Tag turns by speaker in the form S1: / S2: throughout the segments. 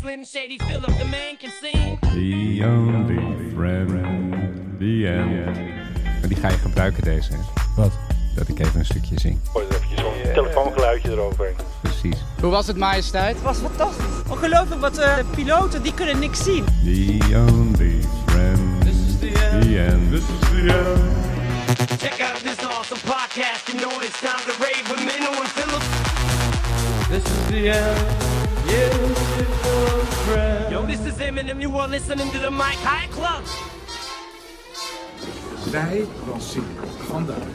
S1: Slim Shady Philip, the man can sing.
S2: The only friend, the end. Maar die ga je gebruiken deze, hè?
S3: Wat?
S2: Dat ik even een stukje zing.
S4: Gooi er eventjes zo'n telefoongeluidje eroverheen.
S2: Precies.
S5: Hoe was het, majesteit?
S6: was fantastisch. Ongelooflijk, wat eh, de piloten, die kunnen niks zien.
S2: The only friend, the end.
S1: Check out this awesome podcast. You know it's time to rave with Minnow and Philip. This is the end. Yo, this is Eminem. You are listening to the Mike High Club.
S7: Wij lanceren vandaag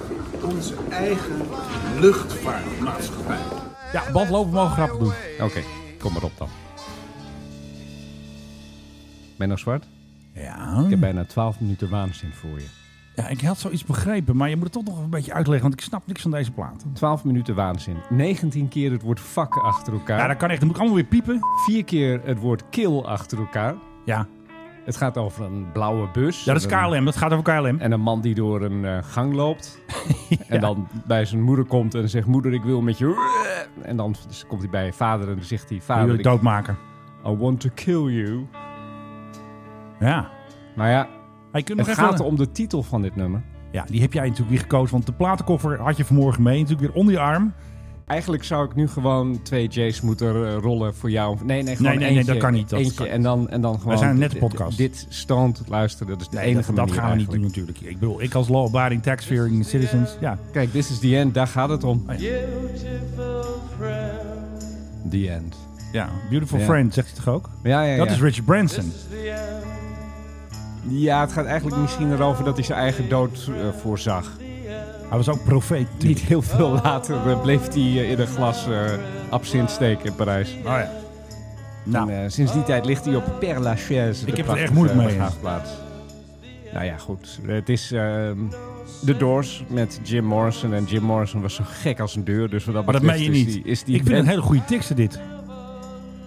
S7: onze eigen luchtvaartmaatschappij.
S3: Ja, bandlopen mogen grappen Hm? doen.
S2: Oké, kom maar op dan. Menno Zwart,
S3: Ja.
S2: ik heb bijna 12 minuten waanzin voor je.
S3: ja, ik had zoiets begrepen, maar je moet het toch nog een beetje uitleggen, want ik snap niks van deze plaat.
S2: 12 minuten waanzin. 19 keer het woord vak achter elkaar.
S3: Ja, dat kan echt. Dan moet ik allemaal weer piepen.
S2: Vier keer het woord kill achter elkaar.
S3: Ja,
S2: Het gaat over een blauwe bus.
S3: ja dat is
S2: En een-
S3: KLM. Dat gaat over KLM.
S2: En een man die door een eh, gang loopt. En dan bij zijn moeder komt en zegt: Moeder, ik wil met je. En dan komt hij bij je vader en dan zegt hij:
S3: Wil
S2: Vader,
S3: jullie
S2: ik,
S3: doodmaken.
S2: I want to kill you.
S3: Ja.
S2: Nou ja,
S3: Hey, kun je
S2: het
S3: nog even...
S2: gaat om de titel van dit nummer.
S3: Ja, die heb jij natuurlijk weer gekozen, want de platenkoffer had je vanmorgen mee. Natuurlijk weer onder je arm.
S2: Eigenlijk zou ik nu gewoon twee J's moeten eh, rollen voor jou. Nee, nee, gewoon
S3: Nee, nee, nee,
S2: eentje,
S3: dat kan niet, dat
S2: eentje
S3: kan niet.
S2: en, dan, en dan gewoon.
S3: zijn een nette
S2: dit-
S3: podcast.
S2: Dit stand luisteren, dat is de
S3: Nee,
S2: enige
S3: dat,
S2: manier.
S3: dat gaan we niet doen
S2: eigenlijk.
S3: natuurlijk. Ik bedoel, ik als law-abiding tax-fearing citizens. Ja,
S2: Kijk, this is the end, daar gaat het om. The end.
S3: ja. Beautiful
S2: Ja.
S3: friend, zegt hij toch ook?
S2: Ja, ja, ja.
S3: Dat is Richard Branson.
S2: Ja, het gaat eigenlijk misschien erover dat hij zijn eigen dood eh, voorzag.
S3: Hij was ook profeet
S2: Niet
S3: natuurlijk.
S2: heel veel later eh, bleef hij eh, in een glas eh absint steken in Parijs.
S3: Oh ja. Nou,
S2: En, eh, sinds die tijd ligt hij op Père Lachaise. de
S3: heb er
S2: prachtige
S3: echt moeilijk mee.
S2: begraafplaats. Nou ja, goed. Het is ehm The Doors met Jim Morrison. En Jim Morrison was zo gek als een deur. Dus wat dat
S3: maar dat meen
S2: betreft
S3: je
S2: is
S3: niet.
S2: die- is die
S3: ik vind
S2: band-
S3: een hele goede teksten dit.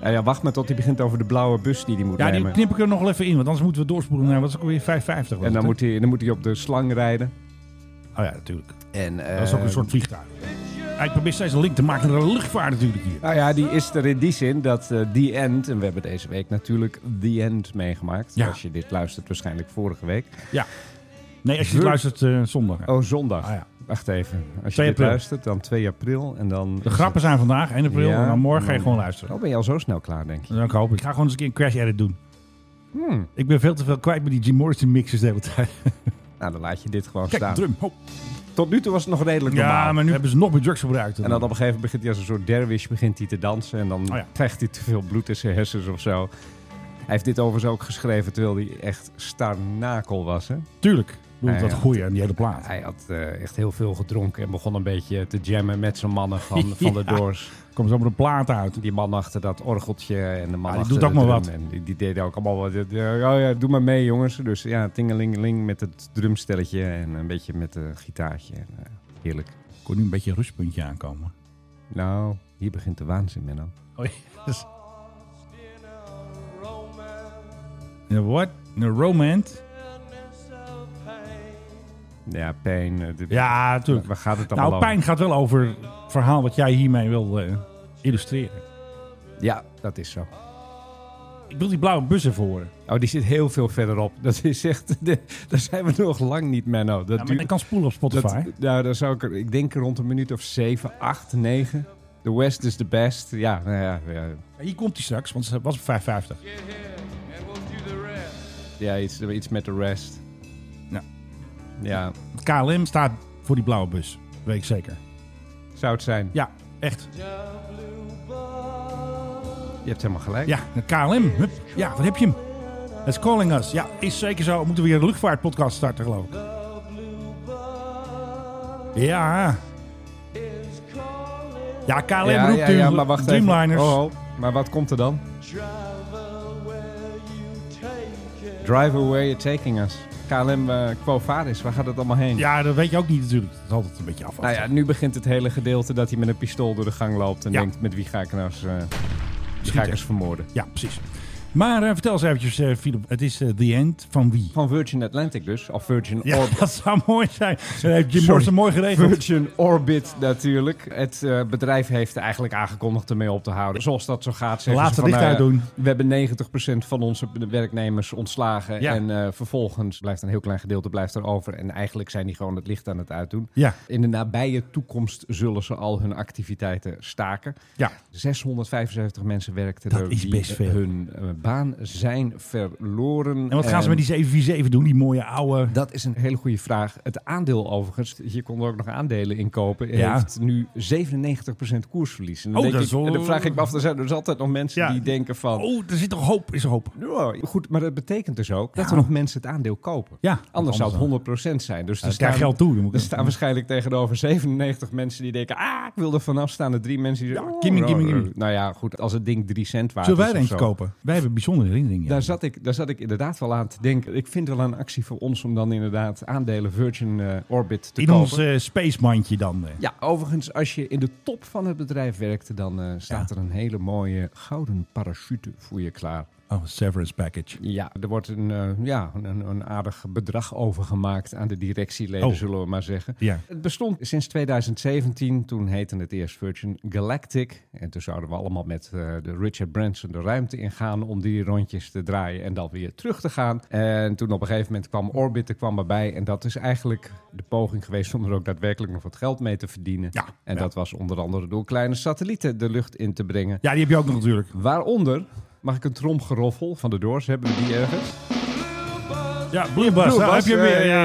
S2: Nou ja, wacht maar tot hij begint over de blauwe bus die hij moet
S3: Ja, die
S2: nemen.
S3: knip ik er nog wel even in, want anders moeten we doorspoelen naar, wat is ook alweer, 550. was
S2: En dan
S3: het,
S2: moet, hij, dan moet hij op de slang rijden.
S3: hè? Oh ja, natuurlijk.
S2: En, ehm,
S3: Dat is ook een soort vliegtuig. Ja, ik probeer steeds een link te maken naar de luchtvaart natuurlijk hier.
S2: Nou ja, die is er in die zin dat eh The End, en we hebben deze week natuurlijk The End meegemaakt.
S3: Ja.
S2: Als je dit luistert, waarschijnlijk vorige week.
S3: Ja. Nee, als je het
S2: Huh?
S3: luistert eh, zondag.
S2: Oh, zondag.
S3: Ah, ja.
S2: Wacht even. Als je
S3: 2
S2: dit
S3: april.
S2: luistert, dan 2 april en dan...
S3: De grappen zijn vandaag, 1 april,
S2: Ja,
S3: en dan morgen ga je
S2: dan-
S3: gewoon luisteren. Dus
S2: Oh, ben je al zo snel klaar, denk je?
S3: Dan ik hoop ik. Ik ga gewoon eens een keer een crash edit doen.
S2: Hmm.
S3: Ik ben veel te veel kwijt met die Jim Morrison mixes de hele tijd.
S2: Nou, dan laat je dit gewoon
S3: Kijk,
S2: staan.
S3: drum. Hop.
S2: Tot nu toe was het nog redelijk normaal.
S3: Ja, maar nu hebben ze nog meer drugs gebruikt.
S2: En dan op een gegeven moment begint hij als een soort derwish begint hij te dansen. En dan
S3: Oh ja.
S2: krijgt hij te veel bloed in zijn hersens of zo. Hij heeft dit overigens ook geschreven terwijl hij echt starnakel was, hè?
S3: Tuurlijk. Ik bedoel,
S2: Ja,
S3: dat
S2: ja.
S3: goeie aan die hele plaat.
S2: Hij had eh, echt heel veel gedronken en begon een beetje te jammen met zijn mannen van, van de
S3: Ja.
S2: Doors.
S3: Komt zo met een plaat uit.
S2: Die man achter dat orgeltje en de man
S3: Ja, die
S2: achter
S3: doet ook
S2: de
S3: maar
S2: drum.
S3: wat.
S2: En die, die deden ook allemaal wat. eh, Oh ja, doe maar mee jongens. Dus ja, tingelingeling met het drumstelletje en een beetje met het gitaartje. En, eh, heerlijk.
S3: Kon nu een beetje een rustpuntje aankomen.
S2: Nou, hier begint de waanzin, Menno.
S3: Oh, yes. Een wat? Een romance?
S2: Ja, pijn. eh, dit-
S3: Ja, natuurlijk.
S2: Waar gaat het allemaal
S3: Nou, pijn
S2: over?
S3: gaat wel over het verhaal wat jij hiermee wil eh, illustreren.
S2: Ja, dat is zo.
S3: Ik wil die blauwe bus even horen.
S2: Oh, die zit heel veel verderop. Dat is echt... Daar zijn we nog lang niet, Menno. Dat
S3: Ja, maar
S2: duurt-
S3: ik kan spoelen op Spotify.
S2: Dat, nou, dan zou ik er, ik denk rond een minuut of 7, 8, 9. The West is the best. Ja, nou ja, ja,
S3: Hier komt hij straks, want ze was op 550.
S2: ja iets, iets met de rest.
S3: Ja.
S2: Ja,
S3: KLM staat voor die blauwe bus. Weet ik zeker.
S2: zou het zijn.
S3: Ja, echt.
S2: Je hebt helemaal gelijk.
S3: Ja, een KLM. Hup. Ja, wat heb je hem? It's calling us. Ja, is zeker zo. We moeten weer een luchtvaartpodcast starten, geloof ik. Ja. Ja, KLM
S2: Ja,
S3: roept
S2: ja,
S3: u.
S2: ja, maar wacht even.
S3: Dreamliners.
S2: Oh, oh, maar wat komt er dan? Drive away you're taking us. KLM eh, Quo Vadis, waar gaat het allemaal heen?
S3: Ja, dat weet je ook niet natuurlijk. Dat is altijd een beetje afwachten.
S2: Nou ja, nu begint het hele gedeelte dat hij met een pistool door de gang loopt en
S3: Ja.
S2: denkt met wie ga ik nou eens, eh, wie ga
S3: Schieten.
S2: ik eens vermoorden.
S3: Ja, precies. Maar eh, vertel eens eventjes, eh, Philip, het is eh, The End van wie?
S2: Van Virgin Atlantic dus, of Virgin
S3: Ja,
S2: Orbit.
S3: dat zou mooi zijn. Dat heeft Jim
S2: Sorry.
S3: Morrison mooi geregeld.
S2: Virgin Orbit natuurlijk. Het eh, bedrijf heeft eigenlijk aangekondigd ermee op te houden. Zoals dat zo gaat. zeggen
S3: Laat
S2: ze
S3: het
S2: van,
S3: licht
S2: eh,
S3: uitdoen.
S2: We hebben 90% van onze werknemers ontslagen.
S3: Ja.
S2: En eh, vervolgens blijft een heel klein gedeelte blijft er over. En eigenlijk zijn die gewoon het licht aan het uitdoen.
S3: Ja.
S2: In de nabije toekomst zullen ze al hun activiteiten staken.
S3: Ja.
S2: 675 mensen werkten
S3: Dat
S2: er
S3: is
S2: die
S3: best veel.
S2: hun eh, baan zijn verloren.
S3: En wat
S2: Ehm.
S3: gaan ze met die 747 doen, die mooie oude...
S2: Dat is een hele goede vraag. Het aandeel overigens, je kon er ook nog aandelen in kopen,
S3: Ja.
S2: heeft nu 97% koersverlies. En dan,
S3: Oh,
S2: denk
S3: dat
S2: ik-
S3: is wel-
S2: en dan vraag ik me af, er zijn dus altijd nog mensen
S3: Ja.
S2: die denken van...
S3: Oh, er zit toch hoop, is er hoop.
S2: "Nou, goed, maar dat betekent dus ook dat er nog mensen het aandeel kopen.
S3: Ja,
S2: anders
S3: want
S2: zou het 100% zijn. Dus er
S3: dan krijg je geld toe, dan moet ik-
S2: er staan waarschijnlijk tegenover 97 mensen die denken... ah, ik wil er vanaf staan. En drie mensen die zeggen...
S3: Ja,
S2: oh,
S3: gimme,
S2: nou,
S3: gimme, gimme.
S2: Nou ja, goed, als het ding 3 cent waard
S3: Zullen wij
S2: is
S3: er
S2: of
S3: eentje
S2: zo.
S3: kopen? Wij hebben bijzondere herinneringen.
S2: Daar zat, ik, daar zat ik inderdaad wel aan te denken. Ik vind wel een actie voor ons om dan inderdaad aandelen Virgin eh, Orbit te
S3: In
S2: kopen.
S3: ons eh, space mandje dan. eh.
S2: Ja, overigens, als je in de top van het bedrijf werkte, dan eh, staat er een hele mooie gouden parachute voor je klaar.
S3: Oh, severance package.
S2: Ja, er wordt een, eh, ja, een, een aardig bedrag overgemaakt aan de directieleden,
S3: Oh.
S2: zullen we maar zeggen.
S3: Ja.
S2: Het bestond sinds 2017. Toen heette het eerst Virgin Galactic. En toen zouden we allemaal met eh, de Richard Branson de ruimte ingaan om die rondjes te draaien en dan weer terug te gaan. En toen op een gegeven moment kwam Orbit er kwam erbij. En dat is eigenlijk de poging geweest om er ook daadwerkelijk nog wat geld mee te verdienen.
S3: Ja,
S2: en
S3: ja.
S2: dat was onder andere door kleine satellieten de lucht in te brengen.
S3: Ja, die heb je ook nog natuurlijk.
S2: Waaronder, mag ik een tromgeroffel van de Doors? Hebben we die ergens?
S3: Ja, Blue Bus,
S2: Blue
S3: daar heb
S2: Bus,
S3: je hem weer.
S2: hey,
S3: Ja,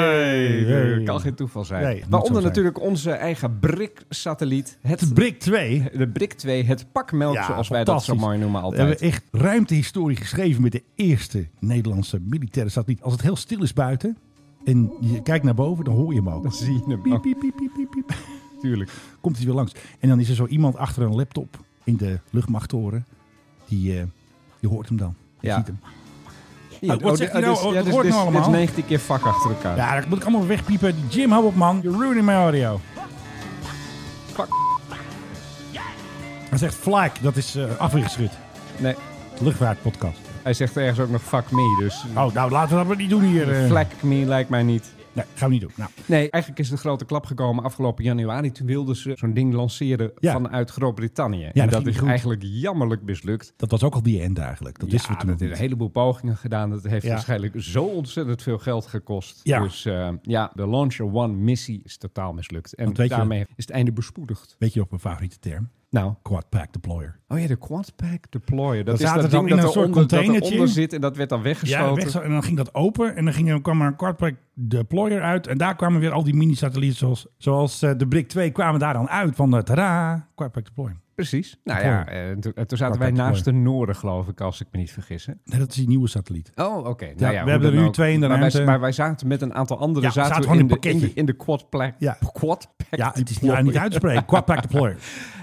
S2: hey,
S3: ja, ja.
S2: Kan geen toeval zijn.
S3: Nee, moet zo
S2: Waaronder
S3: zijn.
S2: natuurlijk onze eigen BRIC-satelliet. Het
S3: Het Brick 2.
S2: de BRIC 2, het pakmelk,
S3: Ja,
S2: zoals wij dat zo
S3: fantastisch.
S2: mooi noemen
S3: We
S2: altijd.
S3: hebben echt ruimtehistorie geschreven met de eerste Nederlandse militaire satelliet. Als het heel stil is buiten en je kijkt naar boven, dan hoor je hem ook.
S2: Dan zie je hem
S3: Piep,
S2: ook.
S3: piep, piep, piep, piep, piep.
S2: Tuurlijk.
S3: Komt hij weer langs. En dan is er zo iemand achter een laptop in de luchtmachttoren. Die, eh, je hoort hem dan. Je
S2: Ja.
S3: ziet hem.
S2: Hier,
S3: wat zegt hij
S2: dit
S3: nou?
S2: is-
S3: Oh,
S2: ja,
S3: dat
S2: dit is-
S3: hoort
S2: dit is-
S3: nou
S2: Dit
S3: allemaal.
S2: is 19 keer vak achter elkaar.
S3: Ja, dat moet ik allemaal wegpiepen. Jim, hou op man. You're ruining my audio.
S2: Fuck.
S3: Hij zegt flak, dat is eh afweergeschud.
S2: Nee,
S3: Luchtvaartpodcast.
S2: hij zegt ergens ook nog fuck me, dus...
S3: Oh, nou laten we dat maar niet doen hier. eh.
S2: Flack me lijkt mij niet.
S3: Nee, gaan we niet doen. Nou,
S2: Nee, eigenlijk is de grote klap gekomen afgelopen januari. Toen wilden ze zo'n ding lanceren
S3: Ja.
S2: vanuit Groot-Brittannië.
S3: dat
S2: en
S3: ging
S2: dat
S3: niet
S2: is
S3: goed.
S2: eigenlijk jammerlijk mislukt.
S3: dat was ook al die end eigenlijk. Dat wisten we toen
S2: dat
S3: nog
S2: heeft een
S3: niet.
S2: heleboel pogingen gedaan. Dat heeft
S3: Ja.
S2: waarschijnlijk zo ontzettend veel geld gekost.
S3: Ja.
S2: Dus eh, ja, de Launcher One missie is totaal mislukt. En
S3: Want weet je-
S2: daarmee is het einde bespoedigd.
S3: Weet je nog mijn favoriete term?
S2: Nou,
S3: Quad Pack Deployer.
S2: oh ja, de Quad Pack Deployer. Dat
S3: zaten
S2: is
S3: ze
S2: dat
S3: dan
S2: ding
S3: in
S2: dat
S3: een soort
S2: eronder, dat
S3: containertje
S2: eronder
S3: in?
S2: zit en dat werd dan
S3: Ja,
S2: weggeschoten.
S3: weg, en dan ging dat open en dan ging, er- kwam er een Quad Pack Deployer uit. En daar kwamen weer al die mini-satellieten zoals, zoals eh, de Brick 2 kwamen daar dan uit van de tada, Quad Pack Deployer.
S2: Precies. Nou
S3: Deployer.
S2: ja, eh, toen- toen zaten
S3: Quad
S2: wij
S3: Pack
S2: naast de Noorden, geloof ik, als ik me niet vergis. hè?
S3: Nee, dat is die nieuwe satelliet.
S2: Oh, oké. Nou
S3: we
S2: ja, hoe
S3: hebben er
S2: dan
S3: nu
S2: ook.
S3: twee in de
S2: maar wij,
S3: ruimte.
S2: maar wij zaten met een aantal anderen
S3: Ja, we
S2: zaten
S3: zaten
S2: we
S3: gewoon
S2: in,
S3: in
S2: de, in,
S3: pakketje.
S2: de, in de Quad Pack.
S3: Ja.
S2: Quad Pack
S3: Ja, het is
S2: Deployer.
S3: nou niet uit te spreken. Quad Pack Deployer.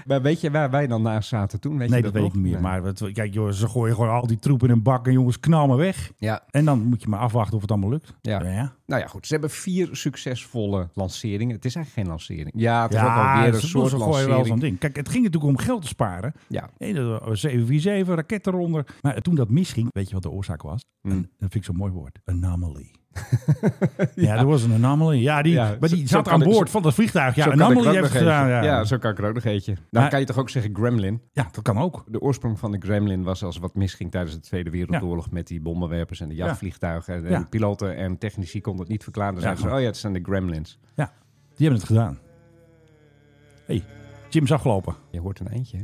S2: Maar weet je waar wij dan naast zaten toen? Weet
S3: Nee,
S2: je
S3: dat weet ik
S2: nog?
S3: niet meer.
S2: Nee.
S3: Maar wat- kijk, joh, ze gooien gewoon al die troepen in een bak en jongens, knal maar weg.
S2: Ja,
S3: En dan moet je maar afwachten of het allemaal lukt.
S2: Ja. nou ja, goed. Ze hebben vier succesvolle lanceringen. Het is eigenlijk geen lancering. Ja, het is ook alweer een
S3: ze-
S2: soort
S3: ze gooien wel zo'n
S2: lancering.
S3: ding. Kijk, het ging natuurlijk om geld te sparen.
S2: Ja,
S3: Nee, dat oh, was 747, raket eronder. Maar toen dat misging, weet je wat de oorzaak was?
S2: Hmm.
S3: Een- dat vind ik zo'n mooi woord. Anomaly. ja, er was een anomaly. Ja, die,
S2: Ja,
S3: maar
S2: zo-
S3: die
S2: zo
S3: zat
S2: kan
S3: aan
S2: ik-
S3: boord van dat vliegtuig. Ja,
S2: zo kan ik er
S3: anomaly
S2: ook
S3: heeft
S2: nog
S3: het gedaan.
S2: eentje.
S3: Ja.
S2: Ja,
S3: Ja,
S2: zo kan ik er ook nog eentje. Nou, Dan
S3: Maar-
S2: kan je toch ook zeggen Gremlin?
S3: dat kan ook.
S2: De oorsprong van de Gremlin was als wat misging tijdens de Tweede Wereldoorlog met die bommenwerpers en de jachtvliegtuigen. En de
S3: Ja.
S2: piloten en technici konden het niet verklaren. Dan
S3: Ja.
S2: zeiden ze, oh ja, het zijn de Gremlins.
S3: Ja, die hebben het gedaan. hey, Jim is afgelopen.
S2: Je hoort een eindje, hè?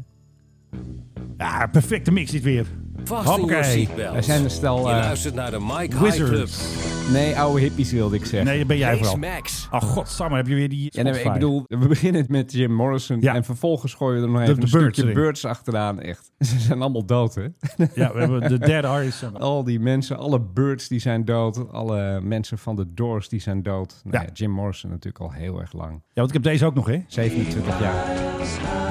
S3: Ja, perfecte mix dit weer.
S5: Vast in
S3: Hoppakee.
S5: your seatbelt.
S2: Er zijn een stel,
S5: Je
S2: eh,
S5: luistert naar de Mike High Club.
S3: Wizards.
S2: Nee, oude hippies wilde ik zeggen.
S3: Nee, dat ben jij
S5: Kees
S3: vooral.
S5: Max.
S3: Ach, godsamme, heb je weer die
S2: Ja, nee, maar ik
S3: Spotify.
S2: bedoel, we beginnen met Jim Morrison
S3: Ja.
S2: en vervolgens gooien we er nog even
S3: de
S2: een
S3: birds
S2: stukje
S3: erin.
S2: birds achteraan. Echt, ze zijn allemaal dood, hè?
S3: Ja, we hebben de derde Artist. Ja,
S2: Al die mensen, alle birds die zijn dood, alle mensen van de Doors die zijn dood. Nou
S3: Ja.
S2: ja, Jim Morrison natuurlijk al heel erg lang,
S3: want ik heb deze ook nog, hè?
S2: 27 jaar.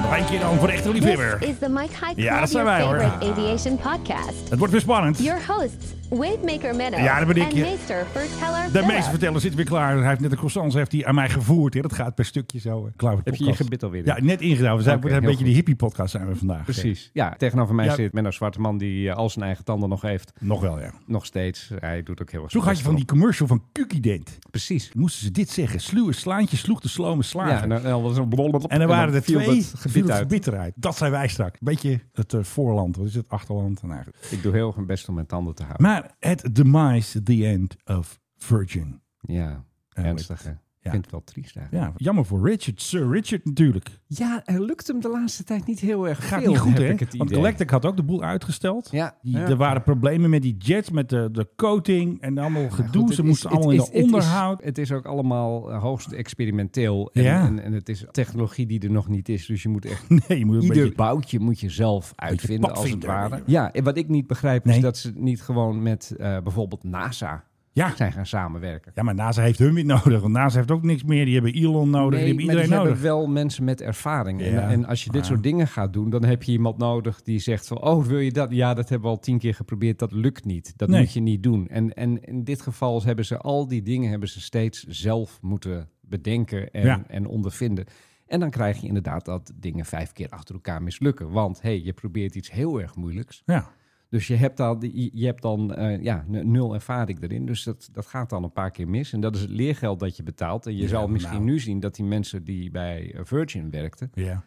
S3: Nog één keer dan voor de echte liefhebber.
S8: This is the Mike High Club,
S3: Ja, dat zijn
S8: your
S3: wij, hoor.
S8: favorite aviation podcast. podcast.
S3: Het wordt weer spannend.
S8: Your hosts, Wavemaker Menno
S3: Ja, dat ben ik,
S8: en
S3: ja.
S8: meester Verteller
S3: De
S8: Philip.
S3: meeste verteller zit weer klaar. Hij heeft net de croissants heeft hij aan mij gevoerd. hè. dat gaat per stukje zo. eh, hè. Klauwe
S2: Heb je
S3: podcast.
S2: je gebit alweer in?
S3: Ja, net ingedaan. We zijn
S2: Oké,
S3: we zijn een
S2: heel
S3: beetje die hippie-podcast zijn we vandaag.
S2: Precies. Ja, tegenover mij
S3: Ja.
S2: zit Menno Zwarteman, die eh, al zijn eigen tanden nog heeft.
S3: Nog wel, ja.
S2: Nog steeds. Hij doet ook heel erg
S3: Zo
S2: zijn
S3: had je van die
S2: best
S3: commercial van Kukident.
S2: erop. Precies.
S3: Moesten ze dit zeggen. Sluwe slaantje sloeg de slome slager.
S2: Ja, en dan, en dan was er een blablabla.
S3: En er waren
S2: dan
S3: er twee,
S2: viel dat
S3: viel
S2: gebied
S3: het
S2: uit.
S3: gebied eruit. Dat zijn wij straks. Beetje het eh, voorland, wat is het, achterland. Nou, goed.
S2: Ik doe heel erg mijn best om mijn tanden te houden.
S3: maar het demise, the end of Virgin.
S2: ja, ernstig hè.
S3: Ja.
S2: Ik vind het wel triest eigenlijk.
S3: Ja, jammer voor Richard. Sir Richard natuurlijk.
S2: Ja, er lukt hem de laatste tijd niet heel erg
S3: Gaat
S2: veel,
S3: niet goed,
S2: heb
S3: hè?
S2: ik het
S3: Want
S2: idee.
S3: Galactic had ook de boel uitgesteld.
S2: Ja,
S3: Die,
S2: ja.
S3: Er waren problemen met die jets, met de, de coating en allemaal
S2: Maar
S3: gedoe.
S2: goed,
S3: Ze
S2: het
S3: moesten
S2: is-
S3: allemaal
S2: het
S3: in
S2: is-
S3: de onderhoud.
S2: Het is, het is ook allemaal eh, hoogst experimenteel. En,
S3: Ja.
S2: en, en het is technologie die er nog niet is. Dus je moet echt
S3: nee, je moet een
S2: Ieder
S3: beetje...
S2: boutje moet je zelf uitvinden, als het
S3: padvinder,
S2: ware.
S3: weet je
S2: Ja, en wat ik niet begrijp
S3: Nee.
S2: is dat ze niet gewoon met eh, bijvoorbeeld NASA
S3: Ja.
S2: zijn gaan samenwerken.
S3: ja, maar NASA heeft hun weer nodig. Want NASA heeft ook niks meer. Die hebben Elon nodig. die
S2: Nee,
S3: hebben
S2: maar
S3: iedereen
S2: die
S3: nodig.
S2: hebben wel mensen met ervaring. En,
S3: Ja.
S2: en als je dit soort dingen gaat doen, dan heb je iemand nodig die zegt van... oh, wil je dat? Ja, dat hebben we al tien keer geprobeerd. Dat lukt niet. Dat
S3: Nee.
S2: moet je niet doen. En, en in dit geval hebben ze al die dingen hebben ze steeds zelf moeten bedenken en,
S3: Ja.
S2: en ondervinden. En dan krijg je inderdaad dat dingen vijf keer achter elkaar mislukken. Want hey, je probeert iets heel erg moeilijks.
S3: Ja.
S2: Dus je hebt, al, die- je hebt dan eh, ja, n- nul ervaring erin. Dus dat, dat gaat dan een paar keer mis. En dat is het leergeld dat je betaalt. En je
S3: Ja,
S2: zal misschien
S3: nou.
S2: nu zien dat die mensen die bij eh, Virgin werkten...
S3: Ja.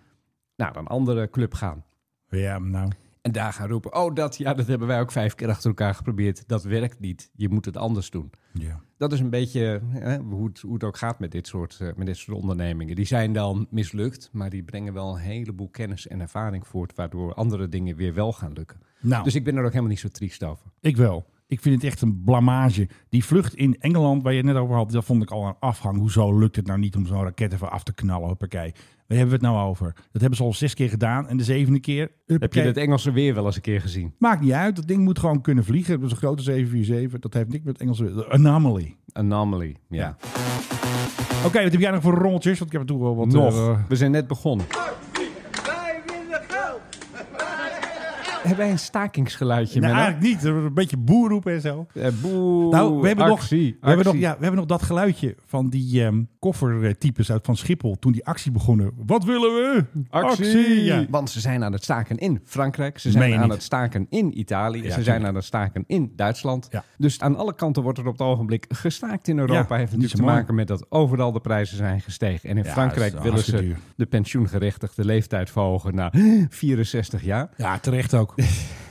S2: naar een andere club gaan.
S3: Ja, nou.
S2: En daar gaan roepen... oh, dat, ja, dat hebben wij ook vijf keer achter elkaar geprobeerd. Dat werkt niet. Je moet het anders doen.
S3: Ja.
S2: Dat is een beetje eh, hoe, het, hoe het ook gaat met dit, soort, eh, met dit soort ondernemingen. Die zijn dan mislukt, maar die brengen wel een heleboel kennis en ervaring voort... waardoor andere dingen weer wel gaan lukken.
S3: Nou,
S2: Dus ik ben er ook helemaal niet zo triest over.
S3: ik wel. Ik vind het echt een blamage. Die vlucht in Engeland, waar je het net over had, dat vond ik al een afhang. Hoezo lukt het nou niet om zo'n raket even af te knallen? Hoppakee. Waar hebben we het nou over? Dat hebben ze al zes keer gedaan. En de zevende keer.
S2: Heb je
S3: huppakee.
S2: dat Engelse weer wel eens een keer gezien?
S3: Maakt niet uit. Dat ding moet gewoon kunnen vliegen. Dat is een grote 747. Dat heeft niks met Engels. De Anomaly.
S2: Anomaly, ja.
S3: Oké, wat heb jij nog voor rolletjes? Want ik heb er toen wel wat... eh,
S2: We zijn net begonnen. Hebben wij een stakingsgeluidje,
S3: nou,
S2: Menno?
S3: eigenlijk niet. Een beetje boerroepen en zo.
S2: Eh, boe,
S3: Nou, we hebben, nog,
S2: actie,
S3: we, hebben nog,
S2: actie.
S3: ja, we hebben nog dat geluidje van die ehm, koffertypes uit Van Schiphol toen die actie begonnen. Wat willen we?
S2: Actie!
S3: Ja.
S2: Want ze zijn aan het staken in Frankrijk, ze
S3: Meen
S2: zijn
S3: je
S2: aan
S3: niet.
S2: het staken in Italië, ze zijn
S3: tuurlijk.
S2: aan het staken in Duitsland.
S3: Ja.
S2: Dus aan alle kanten wordt er op het ogenblik gestaakt in Europa. heeft
S3: Ja, niet zo
S2: natuurlijk te
S3: mooi.
S2: maken met dat overal de prijzen zijn gestegen. En in
S3: Ja,
S2: Frankrijk
S3: dat is
S2: willen ze
S3: hartstikke duur.
S2: de pensioengerechtigde leeftijd verhogen naar 64 jaar.
S3: Ja, terecht ook.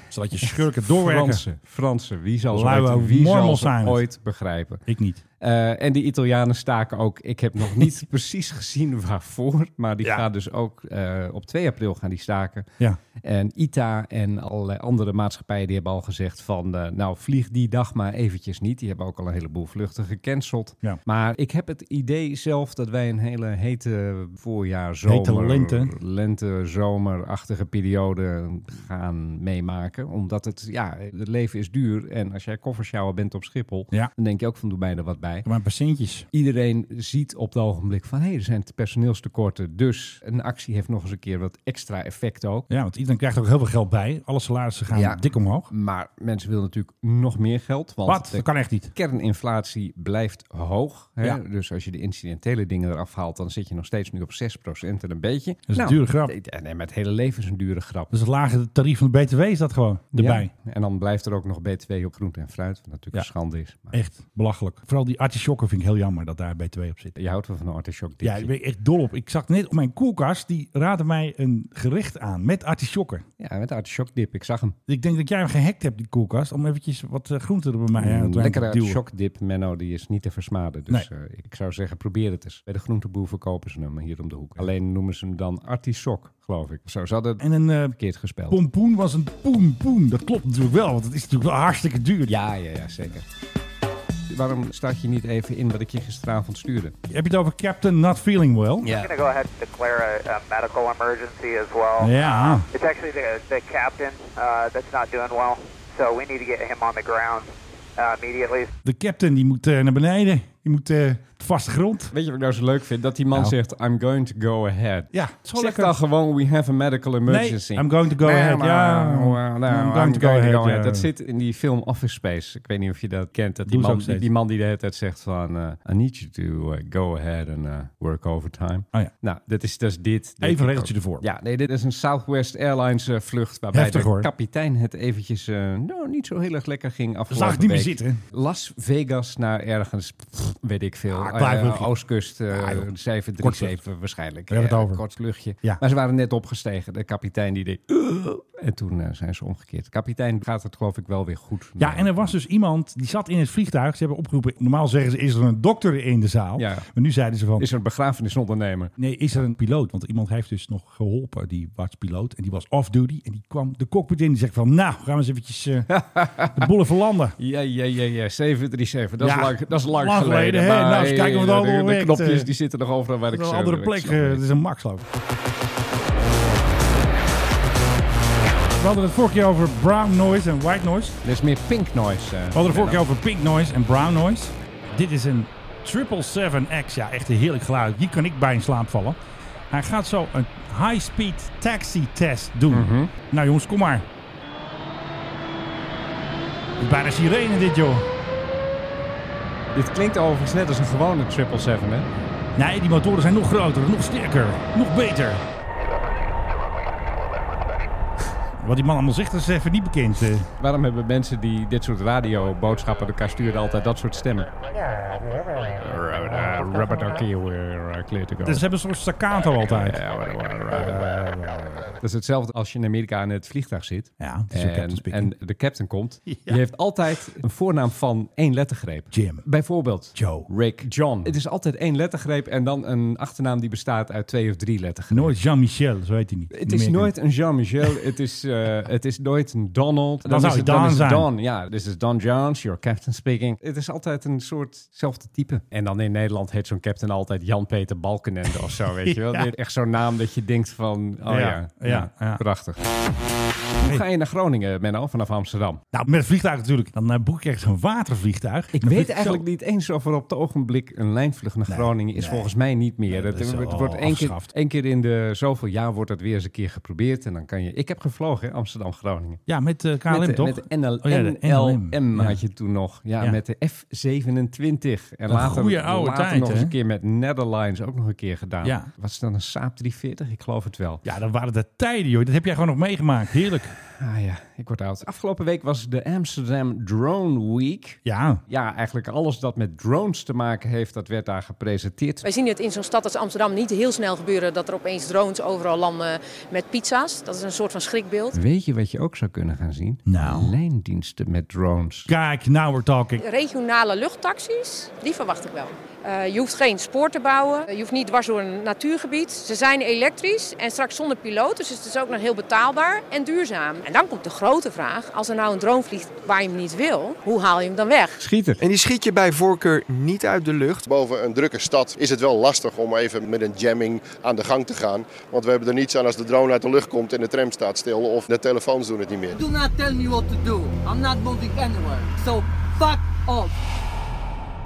S3: Zodat je schurken doorwerken.
S2: Fransen, Fransen, wie zal ze
S3: Lauwe
S2: ooit- wie zal
S3: mormels
S2: ze
S3: zijn het.
S2: ooit begrijpen?
S3: Ik niet.
S2: Eh, en die Italianen staken ook. Ik heb nog niet precies gezien waarvoor, maar die
S3: Ja.
S2: gaan dus ook eh, op 2 april gaan die staken.
S3: Ja.
S2: En ITA en allerlei andere maatschappijen die hebben al gezegd van, eh, nou vlieg die dag maar eventjes niet. Die hebben ook al een heleboel vluchten gecanceld.
S3: Ja.
S2: Maar ik heb het idee zelf dat wij een hele hete voorjaar, zomer,
S3: Hete lente.
S2: lente, zomerachtige periode gaan meemaken. Omdat het, ja, het leven is duur. En als jij koffersjouwer bent op Schiphol,
S3: Ja.
S2: dan denk je ook van doe mij er wat bij.
S3: Maar een paar centjes.
S2: Iedereen ziet op het ogenblik van, hé, er zijn personeelstekorten. Dus een actie heeft nog eens een keer wat extra effect ook.
S3: Ja, want iedereen krijgt er ook heel veel geld bij. Alle salarissen gaan
S2: Ja.
S3: dik omhoog.
S2: Maar mensen willen natuurlijk nog meer geld. Want
S3: Wat?
S2: de
S3: Dat kan echt niet.
S2: kerninflatie blijft hoog. Hè?
S3: Ja.
S2: Dus als je de incidentele dingen eraf haalt, dan zit je nog steeds nu op 6% en een beetje. Nou, Dat
S3: is een dure grap.
S2: En het hele leven is een dure grap.
S3: Dus het lage tarief van de BTW is dat gewoon erbij.
S2: Ja. En dan blijft er ook nog BTW op groente en fruit, wat natuurlijk
S3: Ja.
S2: een schande is. Maar
S3: Echt belachelijk. Vooral die artisjokken vind ik heel jammer dat daar BTW op zit.
S2: je houdt wel van een artichok
S3: Ja,
S2: dipje.
S3: daar ben ik echt dol op. Ik zag net op mijn koelkast, die raadde mij een gerecht aan met artisjokken.
S2: Ja, met artichok dip. Ik zag hem.
S3: Ik denk dat jij hem gehackt hebt, die koelkast, om eventjes wat eh, groenten er bij mij aan
S2: Een
S3: te
S2: Mm, lekkere
S3: duwen.
S2: artichok dip, Menno, die is niet te versmaden. Dus eh, ik zou zeggen, probeer het eens. Bij de groenteboer verkopen ze hem hier om de hoek. Alleen noemen ze hem dan artichok, geloof ik. Zo, ze hadden het
S3: En een eh,
S2: verkeerd gespeld.
S3: pompoen was een poenpoen. Dat klopt natuurlijk wel, want het is natuurlijk wel hartstikke duur.
S2: Ja, ja, ja, zeker. Waarom staat je niet even in wat ik je gisteravond stuurde?
S3: Heb je het over Captain Not Feeling Well?
S2: Ja.
S9: going to go ahead and declare a, a medical emergency as well. Uh,
S3: Ja.
S9: It's actually the, the captain uh, that's not doing well, so we need to get him on the ground uh, immediately.
S3: De captain die moet eh, naar beneden. Die moet eh, het vaste grond.
S2: Weet je wat ik nou zo leuk vind? Dat die man
S3: Nou.
S2: zegt, I'm going to go ahead.
S3: Ja, het is wel
S2: Zeg
S3: lekker.
S2: dan gewoon, we have a medical emergency.
S3: Nee, I'm going to go ahead. Ja,
S2: nou, nou,
S3: I'm going to go ahead. ja.
S2: Dat zit in die film Office Space. Ik weet niet of je dat kent. Dat die,
S3: Doen ze
S2: man,
S3: ook
S2: die,
S3: steeds.
S2: die man die de hele tijd zegt van... eh, I need you to eh, go ahead and eh, work overtime.
S3: Oh ja.
S2: Nou, dat is, dat is dit.
S3: Even een regeltje
S2: ook.
S3: ervoor.
S2: Ja, nee, dit is een Southwest Airlines eh, vlucht... waarbij
S3: Heftig,
S2: de
S3: hoor.
S2: kapitein het eventjes eh, nou, niet zo heel erg lekker ging afgelopen
S3: zag ik niet meer
S2: week.
S3: zitten.
S2: Las Vegas naar ergens, pff, weet ik veel.
S3: Ah, klein
S2: eh,
S3: vluchtje.
S2: Oostkust eh,
S3: Ja, joh.
S2: 737 waarschijnlijk.
S3: We hebben het
S2: Eh,
S3: over.
S2: Kort vluchtje.
S3: Ja.
S2: Maar ze waren net opgestegen. De kapitein die deed... "Ugh." En toen eh, zijn ze omgekeerd. De kapitein gaat het geloof ik wel weer goed.
S3: Ja, en er was dus iemand die zat in het vliegtuig. Ze hebben opgeroepen. Normaal zeggen ze: is er een dokter in de zaal?
S2: Ja.
S3: Maar nu zeiden ze van:
S2: Is er een begrafenisondernemer?
S3: nee, is er een piloot? Want iemand heeft dus nog geholpen. Die was piloot en die was off-duty. En die kwam de cockpit in. Die zegt van: nou, gaan we eens eventjes eh, de boel even landen.
S2: Ja, ja, ja, ja. 737. Dat,
S3: Ja,
S2: is, lang, dat is lang,
S3: lang geleden, hè. Nou, eens
S2: hey,
S3: kijken of het
S2: de-
S3: allemaal
S2: de,
S3: werkt,
S2: de knopjes
S3: eh.
S2: die zitten nog overal waar ik
S3: Dat
S2: ze-
S3: is een andere
S2: ik
S3: plek.
S2: snap
S3: eh,
S2: het
S3: Dat
S2: niet.
S3: is een maxloop. We hadden het vorige keer over brown noise en white noise.
S2: Er is meer pink noise. eh,
S3: We hadden het vorige
S2: Menno.
S3: keer over pink noise en brown noise. Dit is een 777X. Ja, echt een heerlijk geluid. Hier kan ik bij in slaap vallen. Hij gaat zo een high-speed taxi test doen.
S2: Mhm.
S3: Nou jongens, kom maar. Het is bijna sirene dit joh.
S2: Dit klinkt overigens net als een gewone 777, hè?
S3: Nee, die motoren zijn nog groter, nog sterker, nog beter. Wat die man allemaal zegt, dat is even niet bekend. eh.
S2: Waarom hebben mensen die dit soort radioboodschappen door elkaar sturen altijd dat soort stemmen? Eh, Rubber ducky, we're eh, clear to go.
S3: Dus ze hebben een soort staccato altijd.
S2: Dat is hetzelfde als je in Amerika in het vliegtuig zit.
S3: Ja, het is een captain
S2: en,
S3: speaking.
S2: en de captain komt. Die heeft altijd een voornaam van één lettergreep.
S3: Jim.
S2: Bijvoorbeeld
S3: Joe.
S2: Rick. John. Het is altijd één lettergreep en dan een achternaam die bestaat uit twee of drie lettergrepen.
S3: Nooit Jean-Michel, zo heet hij niet.
S2: Het is nooit een Jean-Michel, het, is, eh, het is nooit een Donald. Dan,
S3: zou
S2: is
S3: het
S2: het, dan
S3: Don
S2: is het
S3: zijn.
S2: Don, ja. This is Don Jones, your captain speaking. Het is altijd een soortzelfde type. En dan in Nederland heet zo'n captain altijd Jan-Peter Balkenende of zo, weet je wel.
S3: Ja.
S2: Echt zo'n naam dat je denkt van, oh ja,
S3: Ja,
S2: ja,
S3: ja, ja.
S2: prachtig. Hoe ga je naar Groningen, Menno, vanaf Amsterdam?
S3: Nou, met het vliegtuig natuurlijk. Dan eh, boek ik echt een watervliegtuig.
S2: Ik
S3: Dan vlieg
S2: weet eigenlijk niet eens of er op het ogenenblik een lijnvlucht naar Groningen is.
S3: nee.
S2: Volgens mij niet meer.
S3: dat
S2: Het-
S3: is
S2: het
S3: al
S2: wordt één keer,
S3: afgeschaft.
S2: één keer in de zoveel jaar wordt het weer eens een keer geprobeerd. En dan kan je... Ik heb gevlogen, hè, Amsterdam-Groningen.
S3: Ja, met eh, KLM
S2: met, de-
S3: toch?
S2: Met de NL,
S3: Oh ja, de
S2: NLM
S3: Ja.
S2: had je toen nog. Ja,
S3: Ja.
S2: met de F-27. En later,
S3: goeie oude
S2: later
S3: tijd,
S2: nog eens
S3: hè?
S2: een keer met Netherlines ook nog een keer gedaan.
S3: Ja.
S2: Wat is dan een Saab 340? Ik geloof het wel.
S3: Ja, dat waren de tijden, joh. Dat heb jij gewoon nog meegemaakt. Heerlijk.
S2: Ah ja, ik word oud. Afgelopen week was de Amsterdam Drone Week.
S3: Ja.
S2: Ja, eigenlijk alles dat met drones te maken heeft, dat werd daar gepresenteerd.
S10: Wij zien het in zo'n stad als Amsterdam niet heel snel gebeuren dat er opeens drones overal landen met pizza's. Dat is een soort van schrikbeeld.
S2: Weet je wat je ook zou kunnen gaan zien?
S3: Nou.
S2: Lijndiensten met drones.
S3: Kijk, now we're talking.
S10: Regionale luchttaxis, die verwacht ik wel. Eh, je hoeft geen spoor te bouwen, je hoeft niet dwars door een natuurgebied. Ze zijn elektrisch en straks zonder piloot, dus het is ook nog heel betaalbaar en duurzaam. En dan komt de grote vraag, als er nou een drone vliegt waar je hem niet wil, hoe haal je hem dan weg?
S2: Schieten.
S11: En die schiet je bij voorkeur niet uit de lucht.
S4: Boven een drukke stad is het wel lastig om even met een jamming aan de gang te gaan. Want we hebben er niets aan als de drone uit de lucht komt en de tram staat stil of de telefoons doen het niet meer.
S6: Do not tell me what to do. I'm not moving anywhere. So fuck off.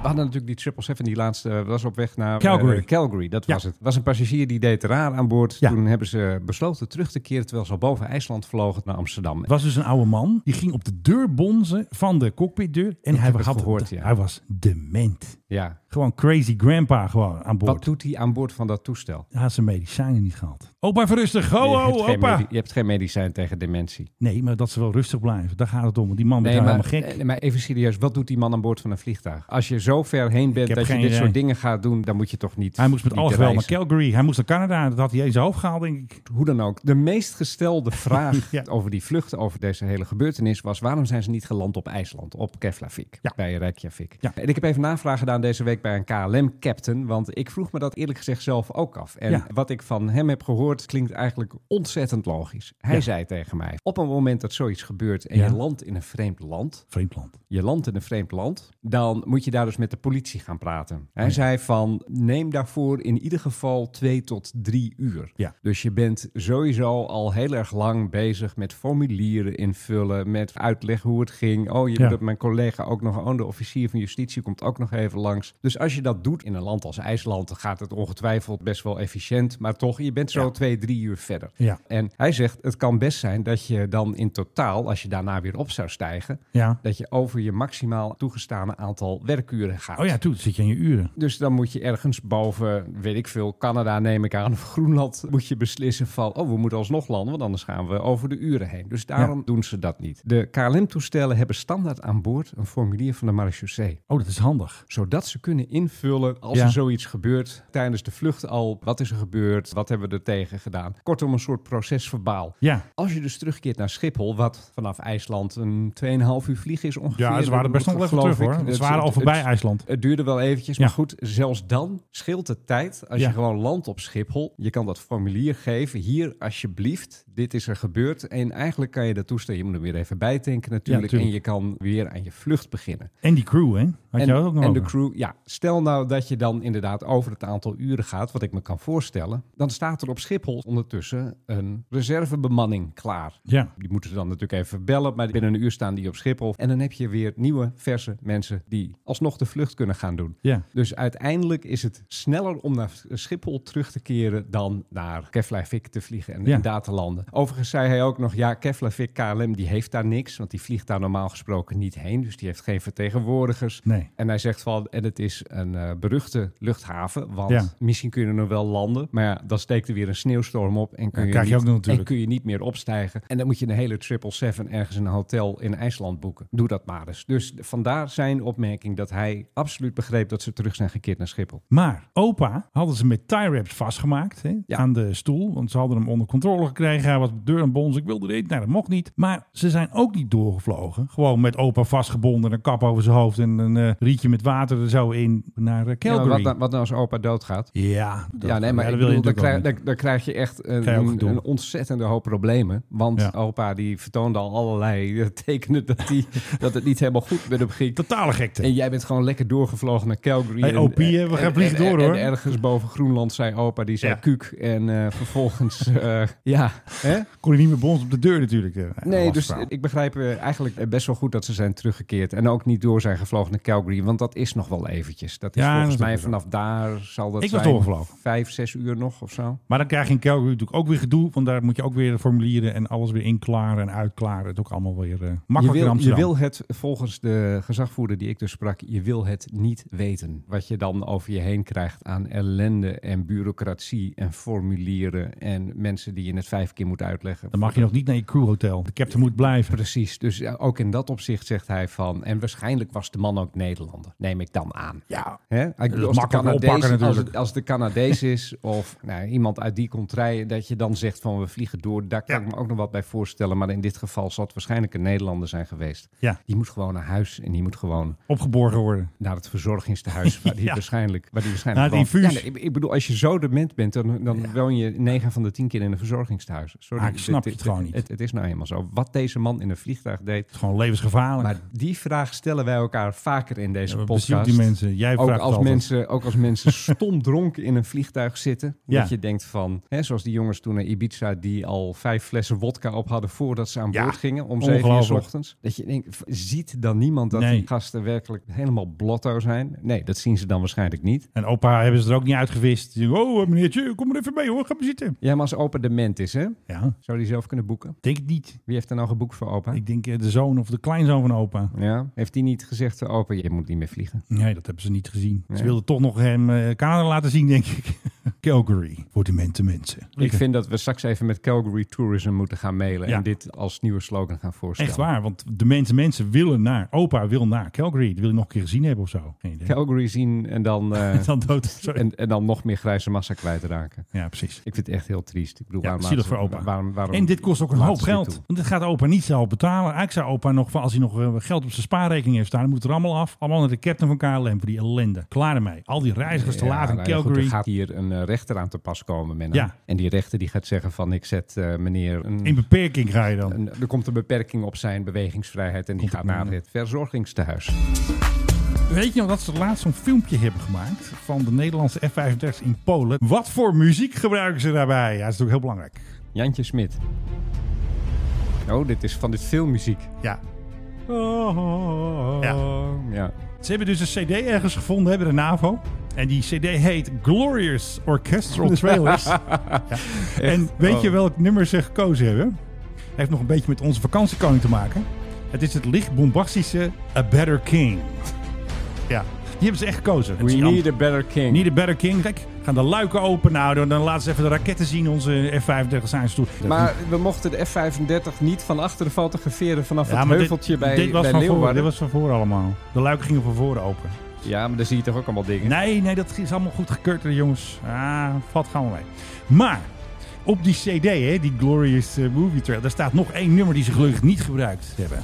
S2: We hadden natuurlijk die 777, die laatste eh, was op weg naar
S3: Calgary.
S2: eh, Calgary, dat
S3: Ja.
S2: was het. Er was een passagier die deed raar aan boord.
S3: Ja.
S2: Toen hebben ze besloten terug te keren terwijl ze al boven IJsland vlogen naar Amsterdam.
S3: Het was dus een oude man. Die ging op de deur bonzen van de cockpitdeur. En hij,
S2: heb het
S3: had,
S2: gehoord, ja.
S3: hij was dement.
S2: Ja.
S3: Gewoon crazy grandpa gewoon aan boord.
S2: Wat doet hij aan boord van dat toestel?
S3: Hij had zijn medicijnen niet gehad. Opa, even rustig. Ho,
S2: je, hebt
S3: ho,
S2: geen
S3: opa.
S2: medi- je hebt geen medicijn tegen dementie.
S3: Nee, maar dat ze wel rustig blijven. Daar gaat het om. Want die man werd daar
S2: maar,
S3: helemaal gek.
S2: eh, maar even serieus, wat doet die man aan boord van een vliegtuig? Als je zo ver heen bent
S3: heb
S2: dat je
S3: geen
S2: dit
S3: idee.
S2: soort dingen gaat doen, dan moet je toch niet.
S3: hij moest met
S2: niet
S3: alles wel naar
S2: reizen.
S3: Calgary. Hij moest naar Canada. Dat had hij in zijn hoofd gehaald, denk ik.
S2: Hoe dan ook, de meest gestelde vraag
S3: Ja.
S2: over die vlucht, over deze hele gebeurtenis was: waarom zijn ze niet geland op IJsland, op Keflavik,
S3: Ja.
S2: bij Reykjavik?
S3: Ja.
S2: En ik heb even navraag gedaan deze week bij een KLM-captain, want ik vroeg me dat eerlijk gezegd zelf ook af. En
S3: Ja.
S2: wat ik van hem heb gehoord klinkt eigenlijk ontzettend logisch. Hij
S3: Ja.
S2: zei tegen mij: op een moment dat zoiets gebeurt en
S3: Ja.
S2: je landt in een vreemd land,
S3: Vreemd land.
S2: je landt in een vreemd land, dan moet je daar dus met de politie gaan praten.
S3: Oh
S2: Hij zei van, neem daarvoor in ieder geval twee tot drie uur.
S3: Ja.
S2: Dus je bent sowieso al heel erg lang bezig met formulieren invullen, met uitleggen hoe het ging. Oh, je
S3: Ja.
S2: doet het- mijn collega ook nog, oh, de officier van justitie komt ook nog even langs. Dus als je dat doet in een land als IJsland, dan gaat het ongetwijfeld best wel efficiënt. Maar toch, je bent zo
S3: Ja.
S2: twee, drie uur verder.
S3: Ja.
S2: En hij zegt, het kan best zijn dat je dan in totaal, als je daarna weer op zou stijgen,
S3: Ja.
S2: dat je over je maximaal toegestane aantal werkuren gaat.
S3: Oh ja, toen zit je aan je uren.
S2: Dus dan moet je ergens boven, weet ik veel, Canada neem ik aan, of Groenland, moet je beslissen van, oh, we moeten alsnog landen, want anders gaan we over de uren heen. Dus daarom
S3: Ja.
S2: doen ze dat niet. De KLM-toestellen hebben standaard aan boord een formulier van de marechaussee,
S3: Oh, dat is handig.
S2: zodat ze kunnen invullen als
S3: Ja.
S2: er zoiets gebeurt, tijdens de vlucht al, wat is er gebeurd, wat hebben we er tegen gedaan. Kortom, een soort procesverbaal.
S3: Ja.
S2: Als je dus terugkeert naar Schiphol, wat vanaf IJsland een 2,5 uur vlieg is ongeveer.
S3: Ja, ze waren er best nog wel even
S2: geloof
S3: terug
S2: ik.
S3: hoor.
S2: Het-
S3: Ze waren al
S2: het-
S3: voorbij
S2: het-
S3: IJsland.
S2: het duurde wel eventjes,
S3: Ja.
S2: maar goed, zelfs dan scheelt het tijd als
S3: Ja.
S2: je gewoon landt op Schiphol. Je kan dat formulier geven, hier alsjeblieft, dit is er gebeurd. En eigenlijk kan je dat toestemmen, je moet er weer even bij tanken natuurlijk. en
S3: tuurlijk.
S2: je kan weer aan je vlucht beginnen.
S3: En die crew, hè? Had
S2: en
S3: je dat ook nog
S2: en de
S3: over?
S2: crew, ja, stel nou dat je dan inderdaad over het aantal uren gaat, wat ik me kan voorstellen. Dan staat er op Schiphol ondertussen een reservebemanning klaar.
S3: Ja.
S2: Die moeten ze dan natuurlijk even bellen, maar binnen een uur staan die op Schiphol. En dan heb je weer nieuwe, verse mensen die alsnog de vlucht kunnen gaan doen.
S3: Ja.
S2: Dus uiteindelijk is het sneller om naar Schiphol terug te keren dan naar Keflavik te vliegen en
S3: Ja.
S2: in daar te landen. Overigens zei hij ook nog, ja, Keflavik KLM die heeft daar niks, want die vliegt daar normaal gesproken niet heen. Dus die heeft geen vertegenwoordigers.
S3: Nee.
S2: En hij zegt van, en het is een eh, beruchte luchthaven, want
S3: Ja.
S2: misschien kun je er nog wel landen, maar ja, dan steekt er weer een sneeuwstorm op en kun,
S3: Ja,
S2: je,
S3: krijg je
S2: niet,
S3: ook nog natuurlijk.
S2: en kun je niet meer opstijgen. En dan moet je een hele 777 ergens in een hotel in IJsland boeken. Doe dat maar eens. Dus vandaar zijn opmerking dat hij absoluut begreep dat ze terug zijn gekeerd naar Schiphol.
S3: Maar opa hadden ze met tie wraps vastgemaakt hè,
S2: Ja.
S3: aan de stoel. Want ze hadden hem onder controle gekregen. Hij was op de deur en bons. Ik wilde dit. Nou, dat mocht niet. Maar ze zijn ook niet doorgevlogen. Gewoon met opa vastgebonden. Een kap over zijn hoofd. En een eh, rietje met water er zo in naar eh,
S2: Ja, maar
S3: Calgary.
S2: wat, nou- wat nou als opa doodgaat?
S3: Ja, dat-
S2: ja, nee, maar
S3: dat
S2: ik
S3: wil je
S2: bedoel, dan,
S3: natuurlijk
S2: krijg,
S3: ook niet.
S2: dan, dan krijg je echt een,
S3: Krijg je ook
S2: een-
S3: gedoe.
S2: een ontzettende hoop problemen. Want
S3: Ja.
S2: opa die vertoonde al allerlei eh, tekenen dat, die, dat het niet helemaal goed met hem ging.
S3: Totale gekte.
S2: En jij bent gewoon lekker doorgevlogen naar Calgary.
S3: Hey,
S2: en,
S3: OP, hè, we
S2: en-
S3: gaan
S2: en-
S3: vliegen
S2: en-
S3: door,
S2: en
S3: hoor.
S2: ergens boven Groenland zei opa, die zei
S3: Ja.
S2: kuuk. En eh, vervolgens, eh, ja. Hè?
S3: Kon hij niet meer bons op de deur natuurlijk. eh.
S2: Nee,
S3: Lastig
S2: dus
S3: verhaal.
S2: ik begrijp eh, eigenlijk eh, best wel goed dat ze zijn teruggekeerd. En ook niet door zijn gevlogen naar Calgary. Want dat is nog wel eventjes. Dat is
S3: Ja,
S2: volgens
S3: dat is
S2: mij
S3: ook zo.
S2: vanaf daar zal dat
S3: Ik was
S2: zijn.
S3: doorgevlogen.
S2: Vijf, zes uur nog of zo.
S3: Maar dan krijg je in Calgary natuurlijk ook weer gedoe. Want daar moet je ook weer de formulieren en alles weer inklaren en uitklaren. Het is ook allemaal weer eh
S2: Je
S3: makkelijker in
S2: wil, je
S3: Amsterdam.
S2: wil het, volgens de gezagvoerder die ik dus sprak, je wil het niet weten. Wat je dan over je heen krijgt aan ellende en bureaucratie en formulieren en mensen die je het vijf keer moet uitleggen.
S3: Dan mag je nog niet naar je crewhotel. De captain moet blijven.
S2: Precies, dus eh, ook in dat opzicht zegt hij van, en waarschijnlijk was de man ook Nederlander, neem ik dan aan.
S3: Ja,
S2: Hè? Ik bedoel, als, de
S3: makkelijk oppakken
S2: Canadees, als,
S3: natuurlijk.
S2: het, als het de Canadees is of nou, iemand uit die contraille, dat je dan zegt van we vliegen door, daar kan
S3: Ja.
S2: ik me ook nog wat bij voorstellen. Maar in dit geval zal het waarschijnlijk een Nederlander zijn geweest.
S3: Ja.
S2: Die moet gewoon naar huis en die moet gewoon
S3: opgeborgen worden.
S2: naar het verzorgingstehuis waar die
S3: Ja.
S2: waarschijnlijk, waar die waarschijnlijk
S3: Naar het
S2: woont.
S3: infuus.
S2: Ja, nee, ik, ik bedoel, als je zo dement bent, dan, dan woon je 9 van de 10 keer in een verzorgingstehuis. Sorry,
S3: Ah, ik snap het gewoon niet.
S2: Het, het is nou eenmaal zo. Wat deze man in een vliegtuig deed,
S3: Het is gewoon levensgevaarlijk.
S2: maar die vraag stellen wij elkaar vaker in deze
S3: Ja, we bezielen
S2: podcast.
S3: die mensen. Jij
S2: ook
S3: vraagt
S2: als
S3: altijd.
S2: mensen, ook als mensen stom dronken in een vliegtuig zitten.
S3: Ja.
S2: Dat je denkt van, hè, zoals die jongens toen naar Ibiza, die al vijf flessen wodka op hadden voordat ze aan
S3: Ja,
S2: boord gingen om zeven uur 's
S3: ongelooflijk.
S2: ochtends. Dat je denkt, v- ziet dan niemand dat
S3: Nee.
S2: die gasten werkelijk helemaal blotto zijn? Nee, dat zien ze dan waarschijnlijk niet.
S3: En opa hebben ze er ook niet uitgevist. Die zeggen, oh meneertje, kom maar even mee hoor, ga maar zitten.
S2: Ja, maar als opa dement is, hè?
S3: Ja,
S2: Zou die zelf kunnen boeken?
S3: denk het niet.
S2: Wie heeft er nou geboekt voor opa?
S3: Ik denk eh, de zoon of de kleinzoon van opa.
S2: Ja, heeft die niet gezegd, eh, opa, je moet niet meer vliegen?
S3: Nee, dat hebben ze niet gezien. Ze
S2: Nee.
S3: wilden toch nog hem eh Canada laten zien, denk ik. Calgary, voor demente mensen.
S2: Ik vind dat we straks even met Calgary Tourism moeten gaan mailen
S3: Ja.
S2: en dit als nieuwe slogan gaan voorstellen.
S3: Echt waar, want de mensen, mensen willen naar, opa wil naar Calgary. Dat wil ik nog een keer gezien hebben of zo. Geen idee.
S2: Calgary zien en dan, eh,
S3: Dan dood. Sorry.
S2: en, en dan nog meer grijze massa kwijtraken.
S3: Ja, precies.
S2: Ik vind het echt heel triest. Ik bedoel,
S3: Ja,
S2: waarom
S3: zielig
S2: laten ze-
S3: voor opa.
S2: Waarom, waarom
S3: En dit kost ook een
S2: laten
S3: hoop
S2: ze dit
S3: geld.
S2: toe?
S3: Want dit gaat opa niet zelf betalen. Eigenlijk zou opa nog, van als hij nog eh, geld op zijn spaarrekening heeft staan, dan moet het er allemaal af. Allemaal naar de captain van KLM voor die ellende. Klaar ermee. Al die reizigers te
S2: Ja,
S3: laat in
S2: nou ja, goed,
S3: Calgary.
S2: er gaat hier een eh, rechter aan te pas komen. Menno.
S3: Ja.
S2: En die rechter die gaat zeggen van ik zet eh, meneer... Een,
S3: In beperking ga je dan.
S2: een- er komt een beperking op zijn bewegingsvrijheid en die
S3: Komt
S2: gaat
S3: het maar
S2: naar
S3: aan.
S2: het verzorgingstehuis.
S3: Weet je nog dat ze laatst zo'n filmpje hebben gemaakt van de Nederlandse F-35 in Polen? Wat voor muziek gebruiken ze daarbij? Ja, dat is natuurlijk heel belangrijk.
S2: Jantje Smit. Oh, dit is van dit filmmuziek.
S3: Ja. Ja.
S2: Ja.
S3: Het Ze hebben dus een cd ergens gevonden, hebben de NAVO. En die cd heet Glorious Orchestral Trailers. Ja. En weet je
S2: Oh.
S3: welk nummer ze gekozen hebben? Heeft nog een beetje met onze vakantiekoning te maken. Het is het licht bombastische A Better King. Ja, die hebben ze echt gekozen.
S2: We need a better king.
S3: Need a better king. Kijk, gaan de luiken open. Nou, dan- dan laten ze even de raketten zien. Onze F-35 zijn ze toe.
S2: Maar we mochten de F-35 niet van achteren fotograferen vanaf het
S3: maar
S2: heuveltje bij,
S3: dit was
S2: bij
S3: van
S2: Leeuwarden.
S3: Voor, dit was van voor allemaal. De luiken gingen van voren open.
S2: Ja, maar daar zie je toch ook allemaal dingen.
S3: Nee, nee, dat is allemaal goed gekeurd, hè, jongens. Ah, valt gaan we mee. Maar op die CD, hè, die Glorious eh, Movie Trail, daar staat nog één nummer die ze gelukkig niet gebruikt hebben.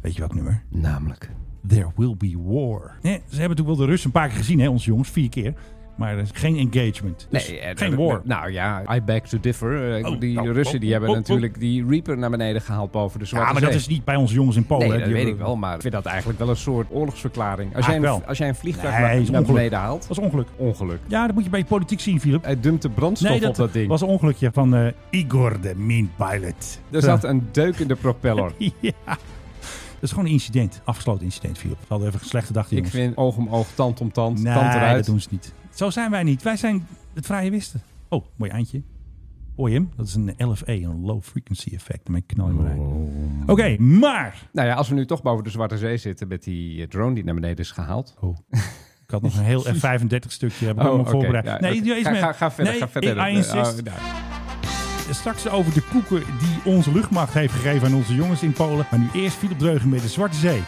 S3: Weet je welk nummer?
S2: Namelijk.
S3: There Will Be War. Nee, ze hebben natuurlijk wel de Russen een paar keer gezien, hè, onze jongens, vier keer. Maar er is geen engagement. Dus
S2: Nee, eh,
S3: geen
S2: dat-
S3: war.
S2: Nou ja, I beg to differ. Eh,
S3: Oh,
S2: die
S3: oh,
S2: Russen die
S3: oh,
S2: hebben
S3: oh, oh.
S2: natuurlijk die Reaper naar beneden gehaald boven de Zwarte
S3: ja, maar dat
S2: Zee.
S3: is niet bij onze jongens in Polen.
S2: Nee,
S3: hè,
S2: dat
S3: die
S2: weet ik
S3: hebben-
S2: wel, maar ik vind dat eigenlijk wel een soort oorlogsverklaring. Als, jij
S3: Eigenlijk
S2: een,
S3: wel.
S2: als jij een vliegtuig
S3: Nee,
S2: naar-
S3: is
S2: naar
S3: ongeluk.
S2: beneden haalt,
S3: Dat is ongeluk.
S2: ongeluk.
S3: Ja, dat moet je bij je politiek zien, Philip.
S2: Hij dumpt de brandstof
S3: Nee,
S2: op dat ding.
S3: was een ongelukje van eh, Igor de Mean Pilot.
S2: Er zat een deuk in de propeller.
S3: ja. Dat is gewoon een incident. Afgesloten incident, Philip. We hadden even een slechte dag, die
S2: ik
S3: jongens.
S2: vind oog om oog, tand om tand,
S3: nee,
S2: tand eruit.
S3: dat doen ze niet. Zo zijn wij niet. Wij zijn het vrije wisten. Oh, mooi eindje. Hoor je hem? Dat is een LFE, een low frequency effect. Daarmee knal je maar uit.
S2: Oh.
S3: Oké, maar...
S2: Nou ja, als we nu toch boven de Zwarte Zee zitten met die eh, drone die naar beneden is gehaald.
S3: Oh. Ik had nog een heel F35 stukje, heb ik
S2: Oh,
S3: allemaal
S2: oké.
S3: voorbereid.
S2: Ja,
S3: nee,
S2: oké.
S3: doe eens
S2: Ga-
S3: mee.
S2: ga- ga verder,
S3: Nee, E
S2: ga verder.
S3: I insist.
S2: Oh, nou.
S3: Straks over de koeken die onze luchtmacht heeft gegeven aan onze jongens in Polen. Maar nu eerst Philip Dreugen met de Zwarte Zee.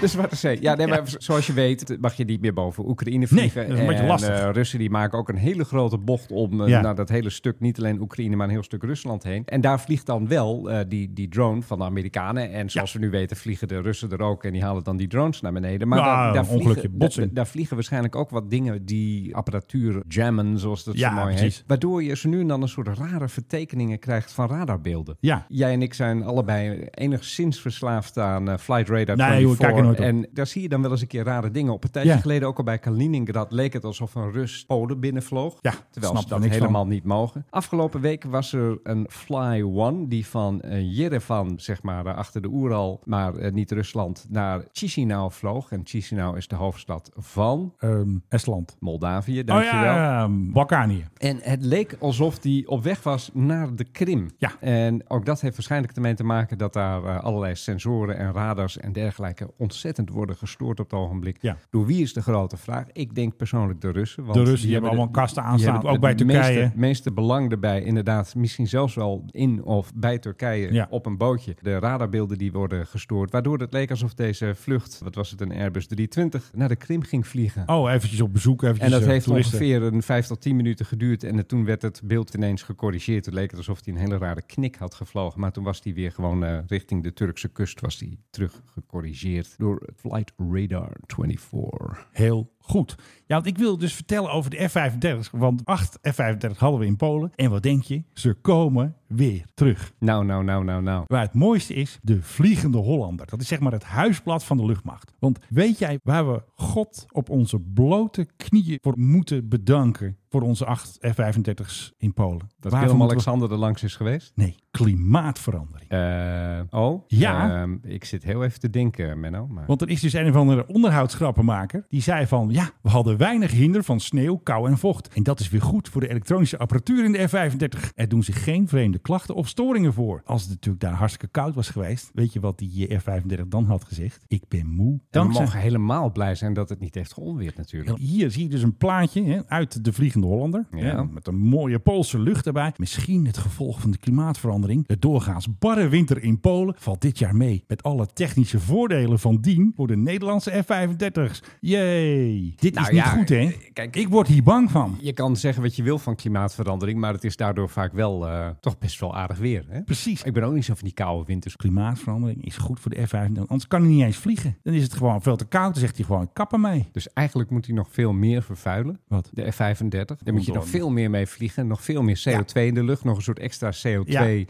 S2: De Zwarte Zee. Ja, nee, maar zoals je weet eh, mag je niet meer boven Oekraïne
S3: Nee,
S2: vliegen.
S3: dat is een beetje
S2: en,
S3: lastig.
S2: eh, Russen die maken ook een hele grote bocht om eh,
S3: Ja.
S2: naar dat hele stuk, niet alleen Oekraïne, maar een heel stuk Rusland heen. En daar vliegt dan wel eh, die, die drone van de Amerikanen. En zoals we nu weten vliegen de Russen er ook en die halen dan die drones naar beneden. Maar
S3: Ja,
S2: daar, daar,
S3: Nou, een ongelukje,
S2: vliegen,
S3: botsing.
S2: daar- daar vliegen waarschijnlijk ook wat dingen die apparatuur jammen, zoals dat
S3: Ja,
S2: zo mooi
S3: precies.
S2: heet. Waardoor je zo nu en dan een soort rare vertekeningen krijgt van radarbeelden.
S3: Ja.
S2: Jij en ik zijn allebei enigszins verslaafd aan eh, Flight Radar
S3: Nee, joh, ik kijk er
S2: 24.
S3: nooit op.
S2: En daar zie je dan wel eens een keer rare dingen op. Een tijdje
S3: Ja.
S2: geleden, ook al bij Kaliningrad, leek het alsof een Rus Polen binnenvloog.
S3: Ja,
S2: terwijl
S3: snap
S2: ze
S3: er
S2: dat
S3: niks van.
S2: helemaal niet mogen. Afgelopen week was er een Fly One, die van eh, Yerevan, zeg maar, eh, achter de Oeral, maar eh, niet Rusland, naar Chisinau vloog. En Chisinau is de hoofdstad van
S3: Ehm, Estland.
S2: Moldavië,
S3: Oh
S2: dankjewel.
S3: ja, ehm, Balkanië.
S2: En het leek alsof die op weg was naar de Krim.
S3: Ja.
S2: En ook dat heeft waarschijnlijk ermee te maken dat daar eh, allerlei sensoren en radars en dergelijke ontzettend worden gestoord op het ogenblik.
S3: Ja.
S2: Door wie is de grote vraag? Ik denk persoonlijk de Russen. Want
S3: De Russen, die
S2: die
S3: hebben allemaal kasten
S2: die
S3: aanstaan,
S2: hebben
S3: ook bij
S2: het
S3: Turkije.
S2: Meeste, meeste belang erbij, inderdaad, misschien zelfs wel in of bij Turkije
S3: Ja.
S2: op een bootje. De radarbeelden die worden gestoord, waardoor het leek alsof deze vlucht, wat was het, een Airbus 320, naar de Krim ging vliegen.
S3: Oh, eventjes op bezoek, eventjes
S2: En dat
S3: eh,
S2: heeft
S3: toeristen.
S2: ongeveer een 5 tot 10 minuten geduurd. En toen werd het beeld ineens gecorrigeerd. Het leek alsof hij een hele rare knik had gevlogen. Maar toen was hij weer gewoon eh, richting de Turkse kust was hij terug gecorrigeerd door Flight Radar 24.
S3: Heel goed. Ja, want ik wil dus vertellen over de F-35. Want acht F-35 hadden we in Polen. En wat denk je? Ze komen weer terug.
S2: Nou, nou, nou, nou, nou.
S3: Waar het mooiste is, de Vliegende Hollander. Dat is zeg maar het huisblad van de luchtmacht. Want weet jij waar we God op onze blote knieën voor moeten bedanken? Voor onze acht F-35's in Polen.
S2: Dat
S3: Waarvoor moeten
S2: Willem-Alexander er langs is geweest?
S3: we- Nee, klimaatverandering.
S2: Eh, oh?
S3: Ja.
S2: Ehm, ik zit heel even te denken, Menno. Maar...
S3: Want er is dus een of andere onderhoudsgrappenmaker. Die zei van, ja, we hadden weinig hinder van sneeuw, kou en vocht. En dat is weer goed voor de elektronische apparatuur in de F-35. Er doen zich geen vreemde klachten of storingen voor. Als het natuurlijk daar hartstikke koud was geweest. Weet je wat die eh, F-35 dan had gezegd? Ik ben moe.
S2: En we mogen helemaal blij zijn dat het niet heeft geonweerd natuurlijk.
S3: Hier zie je dus een plaatje hè, uit de Vliegende Hollander.
S2: Ja.
S3: hè, met een mooie Poolse lucht erbij. Misschien het gevolg van de klimaatverandering. De doorgaans barre winter in Polen valt dit jaar mee. Met alle technische voordelen van dien voor de Nederlandse F-35's. Jee. Dit
S2: Nou
S3: is niet
S2: ja,
S3: goed hè.
S2: kijk-
S3: ik word hier bang van.
S2: Je kan zeggen wat je wil van klimaatverandering, maar het is daardoor vaak wel eh, toch best wel aardig weer. Hè?
S3: Precies.
S2: Ik ben ook niet zo van die koude winters.
S3: Klimaatverandering is goed voor de F-35. Anders kan hij niet eens vliegen. Dan is het gewoon veel te koud. Dan zegt hij gewoon kappen mij.
S2: Dus eigenlijk moet hij nog veel meer vervuilen.
S3: Wat?
S2: De F-35. Daar moet je nog
S3: door.
S2: veel meer mee vliegen. Nog veel meer CO2 in de lucht. Nog een soort extra CO2-ding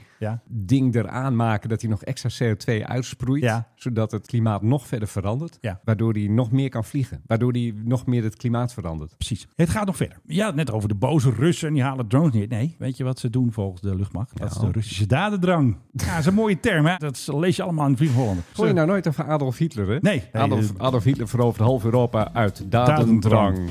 S3: Ja.
S2: eraan maken. Dat hij nog extra CO2 uitsproeit.
S3: Ja.
S2: Zodat het klimaat nog verder verandert.
S3: Ja.
S2: Waardoor hij nog meer kan vliegen. Waardoor hij nog meer het klimaat verandert.
S3: Precies. Het gaat nog verder. Ja, net over de boze Russen en die halen drones neer. Nee, weet je wat ze doen volgens de luchtmacht? Dat is
S2: Nou.
S3: de Russische dadendrang. Ja, dat is een mooie term, hè? Dat lees je allemaal in Vlieghollander.
S2: Hoor je nou nooit over Adolf Hitler, hè?
S3: Nee.
S2: Adolf,
S3: Nee,
S2: Adolf Hitler veroverde half Europa uit
S3: Dadendrang.
S2: dadendrang.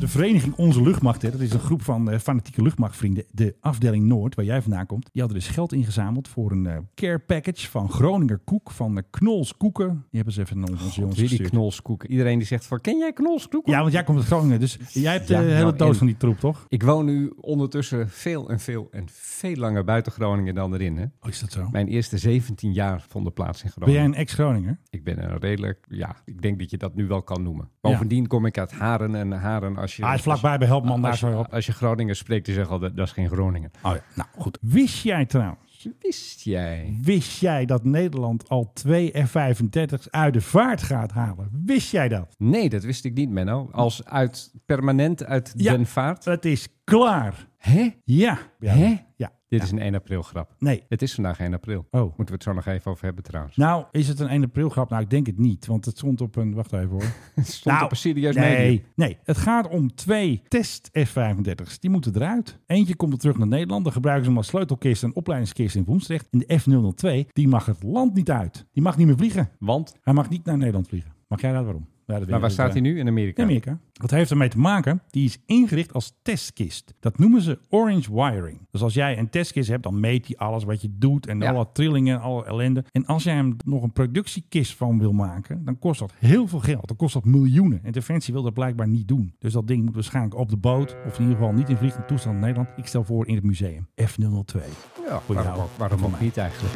S3: De vereniging Onze Luchtmacht, hè, dat is een groep van eh, fanatieke luchtmachtvrienden. De afdeling Noord, waar jij vandaan komt, die hadden dus geld ingezameld voor een eh, care package van Groninger Koek, van de Knols Koeken. Die hebben ze even naar onze jongens
S2: Weer die
S3: gestuurd.
S2: knolskoek. Iedereen die zegt van, ken jij knolskoek?
S3: Ja, want jij komt uit Groningen, dus jij hebt
S2: Ja,
S3: de hele
S2: nou,
S3: doos
S2: en-
S3: van die troep, toch?
S2: Ik woon nu ondertussen veel en veel en veel langer buiten Groningen dan erin. Hè?
S3: Oh, is dat zo?
S2: Mijn eerste 17 jaar vonden plaats in
S3: Ben
S2: Groningen.
S3: jij een ex-Groninger?
S2: Ik ben een redelijk, ja, ik denk dat je dat nu wel kan noemen. Bovendien kom ik uit Haren en Haren als je...
S3: Ah, Hij is
S2: als-
S3: vlakbij bij Helpman, daar
S2: Ah, Als
S3: zo
S2: je,
S3: op.
S2: als je Groningen spreekt, die zeggen al, dat, dat is geen Groningen.
S3: Oh ja, nou goed. Wist jij trouwens,
S2: Wist jij?
S3: wist jij dat Nederland al twee F-35's uit de vaart gaat halen? Wist jij dat?
S2: Nee, dat wist ik niet, Menno. Als uit, permanent uit
S3: Ja.
S2: Den Vaart.
S3: Het is klaar.
S2: Hè?
S3: Ja. ja.
S2: Hè?
S3: Ja.
S2: Dit is een 1 april grap.
S3: Nee.
S2: Het is vandaag 1 april.
S3: Oh.
S2: Moeten we het zo nog even over hebben trouwens.
S3: Nou, is het een 1 april grap? Nou, ik denk het niet, want het stond op een... Wacht even hoor.
S2: Het stond
S3: nou,
S2: op een serieus
S3: nee,
S2: medium.
S3: Nee, het gaat om twee test F-35's. Die moeten eruit. Eentje komt er terug naar Nederland. Dan gebruiken ze hem als sleutelkist en opleidingskist in Woensdrecht. En de F-002, die mag het land niet uit. Die mag niet meer vliegen.
S2: Want,
S3: Hij mag niet naar Nederland vliegen. Mag jij dat waarom? Ja, dat weet
S2: maar
S3: ik
S2: waar
S3: niet.
S2: staat hij nu? In Amerika.
S3: In Amerika. Dat heeft ermee te maken, die is ingericht als testkist. Dat noemen ze orange wiring. Dus als jij een testkist hebt, dan meet hij alles wat je doet en
S2: Ja.
S3: alle trillingen en alle ellende. En als jij hem nog een productiekist van wil maken, dan kost dat heel veel geld. Dan kost dat miljoenen. En Defensie wil dat blijkbaar niet doen. Dus dat ding moet waarschijnlijk op de boot, of in ieder geval niet in vliegende toestand in Nederland. Ik stel voor in het museum. F002.
S2: Ja,
S3: Voor
S2: waarom,
S3: jou.
S2: ook- waarom
S3: Voor
S2: ook
S3: mij.
S2: nou, niet eigenlijk?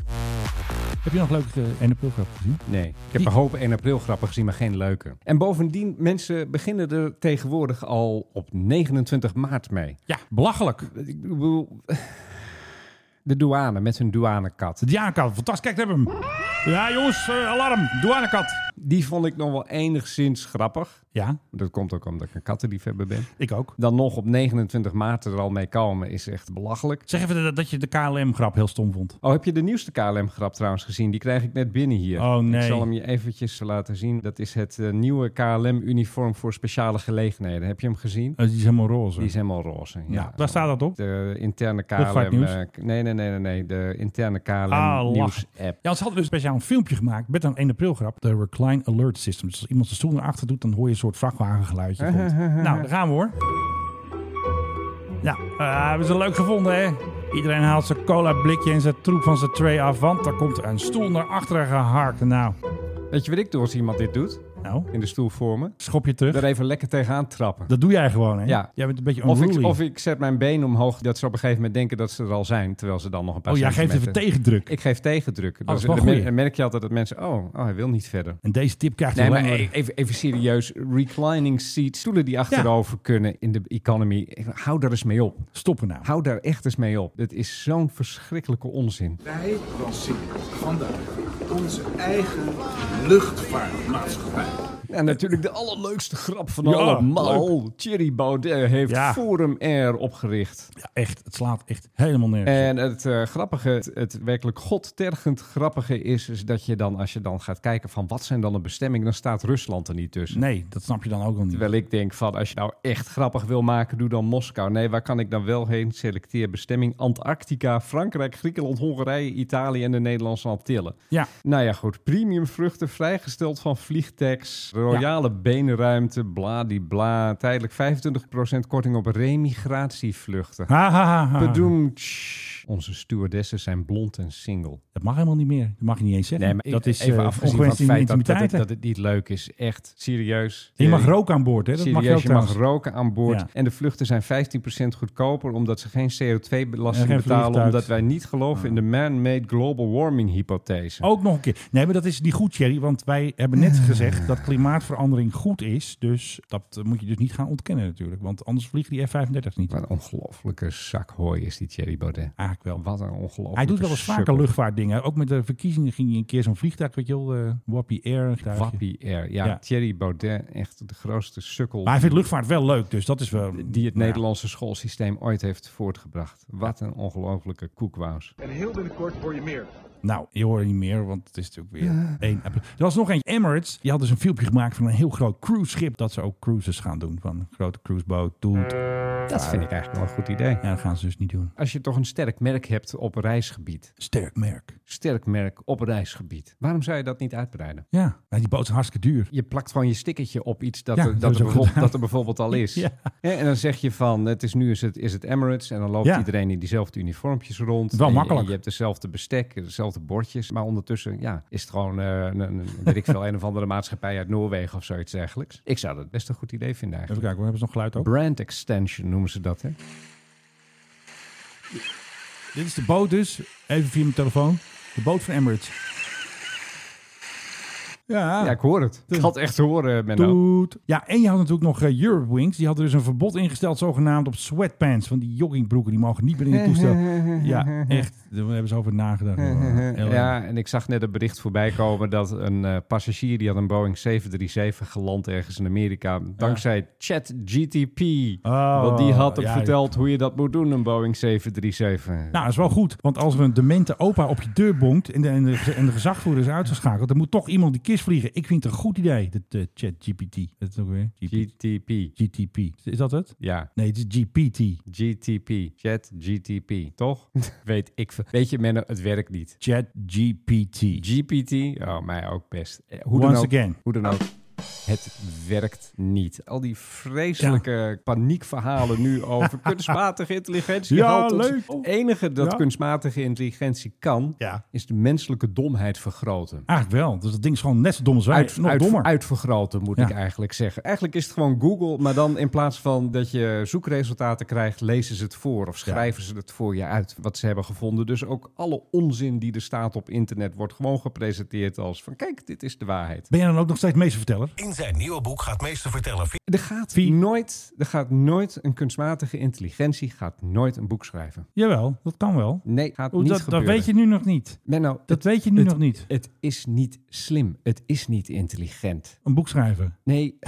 S3: Heb je nog leuke uh, NPL-grap gezien?
S2: Nee, ik heb een hoop 1 april grappen gezien, maar geen leuke. En bovendien, mensen beginnen er tegenwoordig al op 29 maart mee.
S3: Ja, belachelijk.
S2: Ik bedoel, de douane met hun douanekat.
S3: De Diaankat, fantastisch. Kijk, daar hebben we hem. Ja, jongens, eh, alarm. Douanekat.
S2: Die vond ik nog wel enigszins grappig.
S3: Ja,
S2: Dat komt ook omdat ik een kattenliefhebber ben.
S3: ik ook.
S2: Dan nog op 29 maart er al mee komen is echt belachelijk.
S3: Zeg even dat, dat je de KLM-grap heel stom vond.
S2: Oh, heb je de nieuwste KLM-grap trouwens gezien? Die krijg ik net binnen hier.
S3: Oh, nee.
S2: Ik zal hem je eventjes laten zien. Dat is het eh, nieuwe KLM-uniform voor speciale gelegenheden. Heb je hem gezien?
S3: Eh, die is helemaal roze.
S2: Die is helemaal roze. Ja,
S3: ja, waar staat dat op?
S2: De interne KLM...
S3: Luchtvaartnieuws?
S2: eh, nee, nee, nee, nee, nee. De interne KLM
S3: Ah, lach.
S2: nieuws-app.
S3: Ja, want ze hadden dus speciaal een filmpje gemaakt met een 1 april grap. De Recline Alert System. Dus als iemand zijn stoel naar achter doet, dan hoor je een soort vrachtwagengeluidje. Vond. nou, daar gaan we hoor. Ja, eh, hebben ze leuk gevonden hè? Iedereen haalt zijn cola blikje en zijn troep van zijn tray af, want daar komt een stoel naar achteren geharkt. Nou,
S2: Weet je wat ik doe als iemand dit doet?
S3: nou,
S2: In de stoel voor me.
S3: schop je terug.
S2: Daar even lekker tegenaan trappen.
S3: Dat doe jij gewoon hè?
S2: Ja.
S3: Jij bent een beetje
S2: Of
S3: unruly.
S2: ik, of ik zet mijn been omhoog dat ze op een gegeven moment denken dat ze er al zijn. Terwijl ze dan nog een paar
S3: oh, jij geeft even
S2: centimeter-
S3: tegendruk. Oh,
S2: Ik geef tegendruk.
S3: dat is
S2: Dus
S3: wel
S2: dan mer-
S3: goeie.
S2: dan merk je altijd dat mensen... Oh, oh hij wil niet verder.
S3: En deze tip krijgt hij
S2: Nee, maar e-
S3: alleen maar-
S2: even, even serieus. Reclining seats, stoelen die achterover kunnen in de economy. Hou daar eens mee op.
S3: Stoppen nou.
S2: Hou daar echt eens mee op. Dit is zo'n verschrikkelijke onzin.
S7: Wij lanceren vandaag onze eigen luchtvaartmaatschappij.
S2: En natuurlijk de allerleukste grap van
S3: Ja,
S2: allemaal. Thierry Baudet eh, heeft
S3: Ja.
S2: Forum Air opgericht.
S3: Ja, echt. Het slaat echt helemaal nergens. op.
S2: En het eh, grappige, het, het werkelijk godtergend grappige is, is dat je dan, als je dan gaat kijken van wat zijn dan de bestemmingen, dan staat Rusland er niet tussen.
S3: Nee, dat snap je dan ook al niet.
S2: Terwijl ik denk van, als je nou echt grappig wil maken, doe dan Moskou. Nee, waar kan ik dan wel heen? Selecteer bestemming Antarctica, Frankrijk, Griekenland, Hongarije, Italië en de Nederlandse Antillen.
S3: Ja,
S2: Nou ja, goed. Premium vruchten, vrijgesteld van vliegtax, royale benenruimte, bladibla. Tijdelijk 25% korting op remigratievluchten.
S3: ha, ha, ha, ha.
S2: Bedoemtsch. Onze stewardessen zijn blond en single.
S3: Dat mag helemaal niet meer. Dat mag je niet eens zeggen.
S2: ik-
S3: dat is
S2: even
S3: eh,
S2: afgezien van het
S3: ongewenste
S2: feit dat, dat,
S3: intimiteit.
S2: het, dat het niet leuk is. Echt serieus.
S3: je mag roken aan boord, hè? Dat mag je ook
S2: Serieus, je mag
S3: trouwens.
S2: roken aan boord.
S3: Ja.
S2: En de vluchten zijn 15% goedkoper omdat ze geen CO2-belasting
S3: En geen
S2: betalen.
S3: vliegtuig.
S2: Omdat wij niet geloven in de man-made global warming hypothese.
S3: Ook nog een keer. Nee, maar dat is niet goed, Jerry. Want wij hebben net gezegd dat klimaatverandering goed is. Dus dat eh, moet je dus niet gaan ontkennen natuurlijk. Want anders vliegen die F-35 niet.
S2: Wat een ongelofelijke zak hooi is die Thierry Baudet.
S3: Eigenlijk wel.
S2: Wat een ongelofelijke
S3: Hij doet wel eens vaker
S2: sukkel.
S3: luchtvaartdingen. Ook met de verkiezingen ging hij een keer zo'n vliegtuig, weet je wel, eh, Wappie Air. een tuigje.
S2: Wappie Air. Ja,
S3: Ja.
S2: Thierry Baudet, echt de grootste sukkel
S3: Maar hij vindt luchtvaart wel leuk, dus dat is wel...
S2: die het
S3: Nou,
S2: Nederlandse schoolsysteem ooit heeft voortgebracht. Wat een ongelofelijke koekwaus.
S7: En heel binnenkort hoor je meer
S3: Nou, je hoort het niet meer, want het is natuurlijk weer één. app. Er was nog eentje, Emirates. Die had dus een filmpje gemaakt van een heel groot cruiseschip. Dat ze ook cruises gaan doen. Van een grote cruiseboot. Doet.
S2: Dat vind ik eigenlijk wel een goed idee.
S3: Ja, dat gaan ze dus niet doen.
S2: Als je toch een sterk merk hebt op reisgebied.
S3: Sterk merk.
S2: Sterk merk op reisgebied. Waarom zou je dat niet uitbreiden?
S3: Ja, maar die boot is hartstikke duur.
S2: Je plakt gewoon je stickertje op iets dat,
S3: Ja,
S2: er,
S3: dat
S2: dat,
S3: is
S2: er
S3: ook
S2: bijvoorbeeld,
S3: gedaan.
S2: dat er bijvoorbeeld al is.
S3: Ja.
S2: Hè, En dan zeg je van, het is nu is het, is het Emirates. En dan loopt
S3: Ja.
S2: iedereen in diezelfde uniformpjes rond.
S3: Wel
S2: En je-
S3: makkelijk.
S2: Je, hebt dezelfde bestek, dezelfde bordjes. Maar ondertussen ja, is het gewoon, eh, een, een, weet ik veel, een of andere maatschappij uit Noorwegen of zoiets dergelijks. Ik zou dat best een goed idee vinden
S3: Even
S2: eigenlijk.
S3: kijken, hebben ze nog geluid ook?
S2: Brand extension noemen ze dat, hè?
S3: Dit is de boot dus. Even via mijn telefoon. De boot van Emirates. Ja,
S2: Ja, ik hoor het. Ik had echt horen, Menno.
S3: Toet. Ja, en je had natuurlijk nog eh, Europe Wings. Die hadden dus een verbod ingesteld, zogenaamd op sweatpants. Want die joggingbroeken die mogen niet meer in het toestel. Ja, echt. Daar hebben ze over nagedacht. Heel erg.
S2: Oh, Ja, en ik zag net een bericht voorbij komen dat een eh, passagier die had een Boeing 737 geland ergens in Amerika. Dankzij ChatGTP.
S3: Oh,
S2: want die had hem
S3: ja,
S2: verteld hoe je dat moet doen, een Boeing 737.
S3: Nou, dat is wel goed. Want als er een demente opa op je deur bonkt en de, en de, en de gezagvoerder is uitgeschakeld, dan moet toch iemand die kist vliegen. Ik vind het een goed idee, dat eh, ChatGPT. Dat is ook weer GP.
S2: GTP.
S3: GTP. Is dat het?
S2: Ja,
S3: Nee, het is GPT.
S2: GTP. ChatGTP, toch? Weet ik veel. Weet je, Menno, het werkt niet.
S3: ChatGPT.
S2: GPT, oh, mij ook best. Eh, Hoe
S3: Once
S2: dan ook,
S3: again.
S2: Hoe dan ook. Het werkt niet. Al die vreselijke paniekverhalen nu over kunstmatige intelligentie.
S3: Ja,
S2: haalt ons-
S3: leuk.
S2: Het enige dat
S3: Ja.
S2: kunstmatige intelligentie kan,
S3: Ja.
S2: is de menselijke domheid vergroten.
S3: Eigenlijk wel. Dus dat ding is gewoon net zo dom als wij.
S2: Uit,
S3: Nog
S2: uit-
S3: dommer.
S2: Uitvergroten moet
S3: Ja.
S2: ik eigenlijk zeggen. Eigenlijk is het gewoon Google, maar dan in plaats van dat je zoekresultaten krijgt, lezen ze het voor of schrijven ze het voor je uit wat ze hebben gevonden. Dus ook alle onzin die er staat op internet wordt gewoon gepresenteerd als van kijk, dit is de waarheid.
S3: Ben jij dan ook nog steeds meesterverteller?
S5: In zijn nieuwe boek gaat meester vertellen
S2: Er gaat,
S3: Wie?
S2: nooit, er gaat nooit een kunstmatige intelligentie gaat nooit een boek schrijven.
S3: Jawel, dat kan wel.
S2: Nee, gaat
S3: Hoe
S2: niet
S3: dat, dat
S2: gebeuren.
S3: weet je nu nog niet.
S2: Menno,
S3: Dat
S2: het-
S3: weet je nu
S2: het-
S3: nog niet.
S2: Het is niet slim. Het is niet intelligent.
S3: Een boek schrijven.
S2: Nee,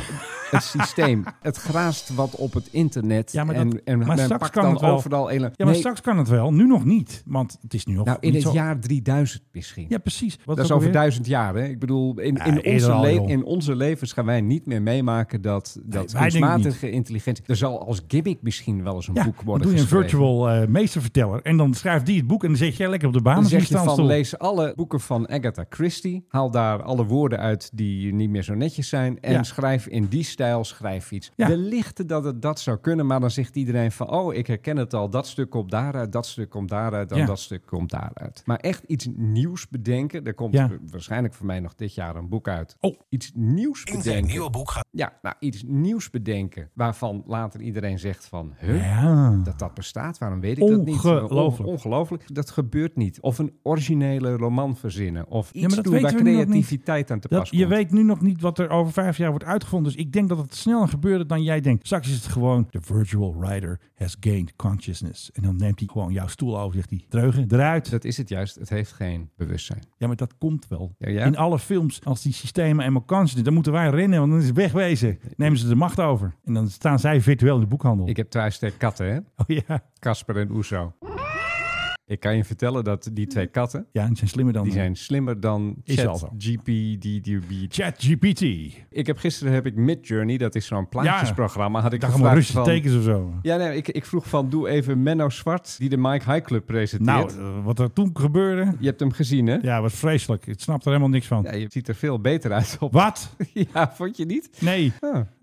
S2: het systeem. Het graast wat op het internet.
S3: Ja, maar
S2: en,
S3: dat-
S2: en
S3: maar
S2: men
S3: straks
S2: pakt
S3: kan
S2: dan
S3: het wel.
S2: overal... Ele-
S3: Ja, maar
S2: Nee,
S3: straks kan het wel. Nu nog niet. Want het is nu al
S2: Nou, in
S3: niet
S2: het
S3: zo-
S2: jaar 3000 misschien.
S3: Ja, precies. Wat
S2: dat is
S3: ook
S2: over
S3: alweer?
S2: duizend jaar. Hè? Ik bedoel, in,
S3: Ja,
S2: in,
S3: eerder
S2: onze
S3: al,
S2: le-
S3: joh.
S2: in onze levens gaan wij niet meer meemaken dat, dat
S3: wij
S2: kunstmatige intelligentie... Er zal als gimmick misschien wel eens een
S3: Ja,
S2: boek
S3: dan
S2: worden
S3: doe je een
S2: geschreven.
S3: virtual eh, meesterverteller. En dan schrijft die het boek en dan zet jij lekker op de baan.
S2: Dan
S3: of in
S2: zeg
S3: de
S2: je van,
S3: standstoel.
S2: lees alle boeken van Agatha Christie. Haal daar alle woorden uit die niet meer zo netjes zijn. En
S3: Ja.
S2: schrijf in die stijl, schrijf iets.
S3: Ja.
S2: Wellicht dat het dat zou kunnen, maar dan zegt iedereen van... oh, ik herken het al, dat stuk komt daaruit, dat stuk komt daaruit... dan
S3: Ja.
S2: dat stuk komt daaruit. Maar echt iets nieuws bedenken. Er komt
S3: Ja.
S2: wa- waarschijnlijk voor mij nog dit jaar een boek uit.
S3: Oh.
S2: Iets nieuws
S5: In zijn
S2: bedenken.
S5: nieuwe boek gaat
S2: Ja, nou, iets nieuws bedenken waarvan later iedereen zegt van... Huh?
S3: Ja.
S2: dat dat bestaat. Waarom weet ik dat niet?
S3: Ongelooflijk.
S2: On- Ongelooflijk. Dat gebeurt niet. Of een originele roman verzinnen. Of
S3: maar
S2: iets
S3: dat
S2: doen
S3: weten
S2: waar
S3: we nu nog niet.
S2: creativiteit aan te
S3: Dat,
S2: pas
S3: je
S2: komt.
S3: weet nu nog niet wat er over vijf jaar wordt uitgevonden. Dus ik denk dat het sneller gebeurt dan jij denkt. Straks is het gewoon... The virtual rider has gained consciousness. En dan neemt hij gewoon jouw stoel over, zegt hij. Dreugen, eruit.
S2: Dat is het juist. Het heeft geen bewustzijn.
S3: Ja, maar dat komt wel.
S2: Ja, ja.
S3: In alle films, als die systemen eenmaal kansen doen, dan moeten wij rennen, want dan is het wegwezen. Nemen ze de macht over. En dan staan zij virtueel in de boekhandel.
S2: Ik heb thuis twee katten, hè?
S3: Oh ja.
S2: Casper en Oezo. Ik kan je vertellen dat die twee katten...
S3: Ja, en ze zijn slimmer dan...
S2: Die zijn slimmer dan
S3: Is wel zo.
S2: ChatGPT.
S3: ChatGPT.
S2: Ik heb gisteren heb ik Midjourney, dat is zo'n plaatjesprogramma, had ik
S3: Ik dacht allemaal
S2: gevraagd
S3: Russische
S2: van...
S3: tekens of zo.
S2: Ja, nee, ik, ik vroeg van doe even Menno Zwart, die de Mike High Club presenteert.
S3: Nou, eh, wat er toen gebeurde,
S2: je hebt hem gezien, hè?
S3: ja, was vreselijk. Ik snap er helemaal niks van.
S2: Ja, je ziet er veel beter uit op.
S3: Wat?
S2: Ja, vond je niet?
S3: Nee.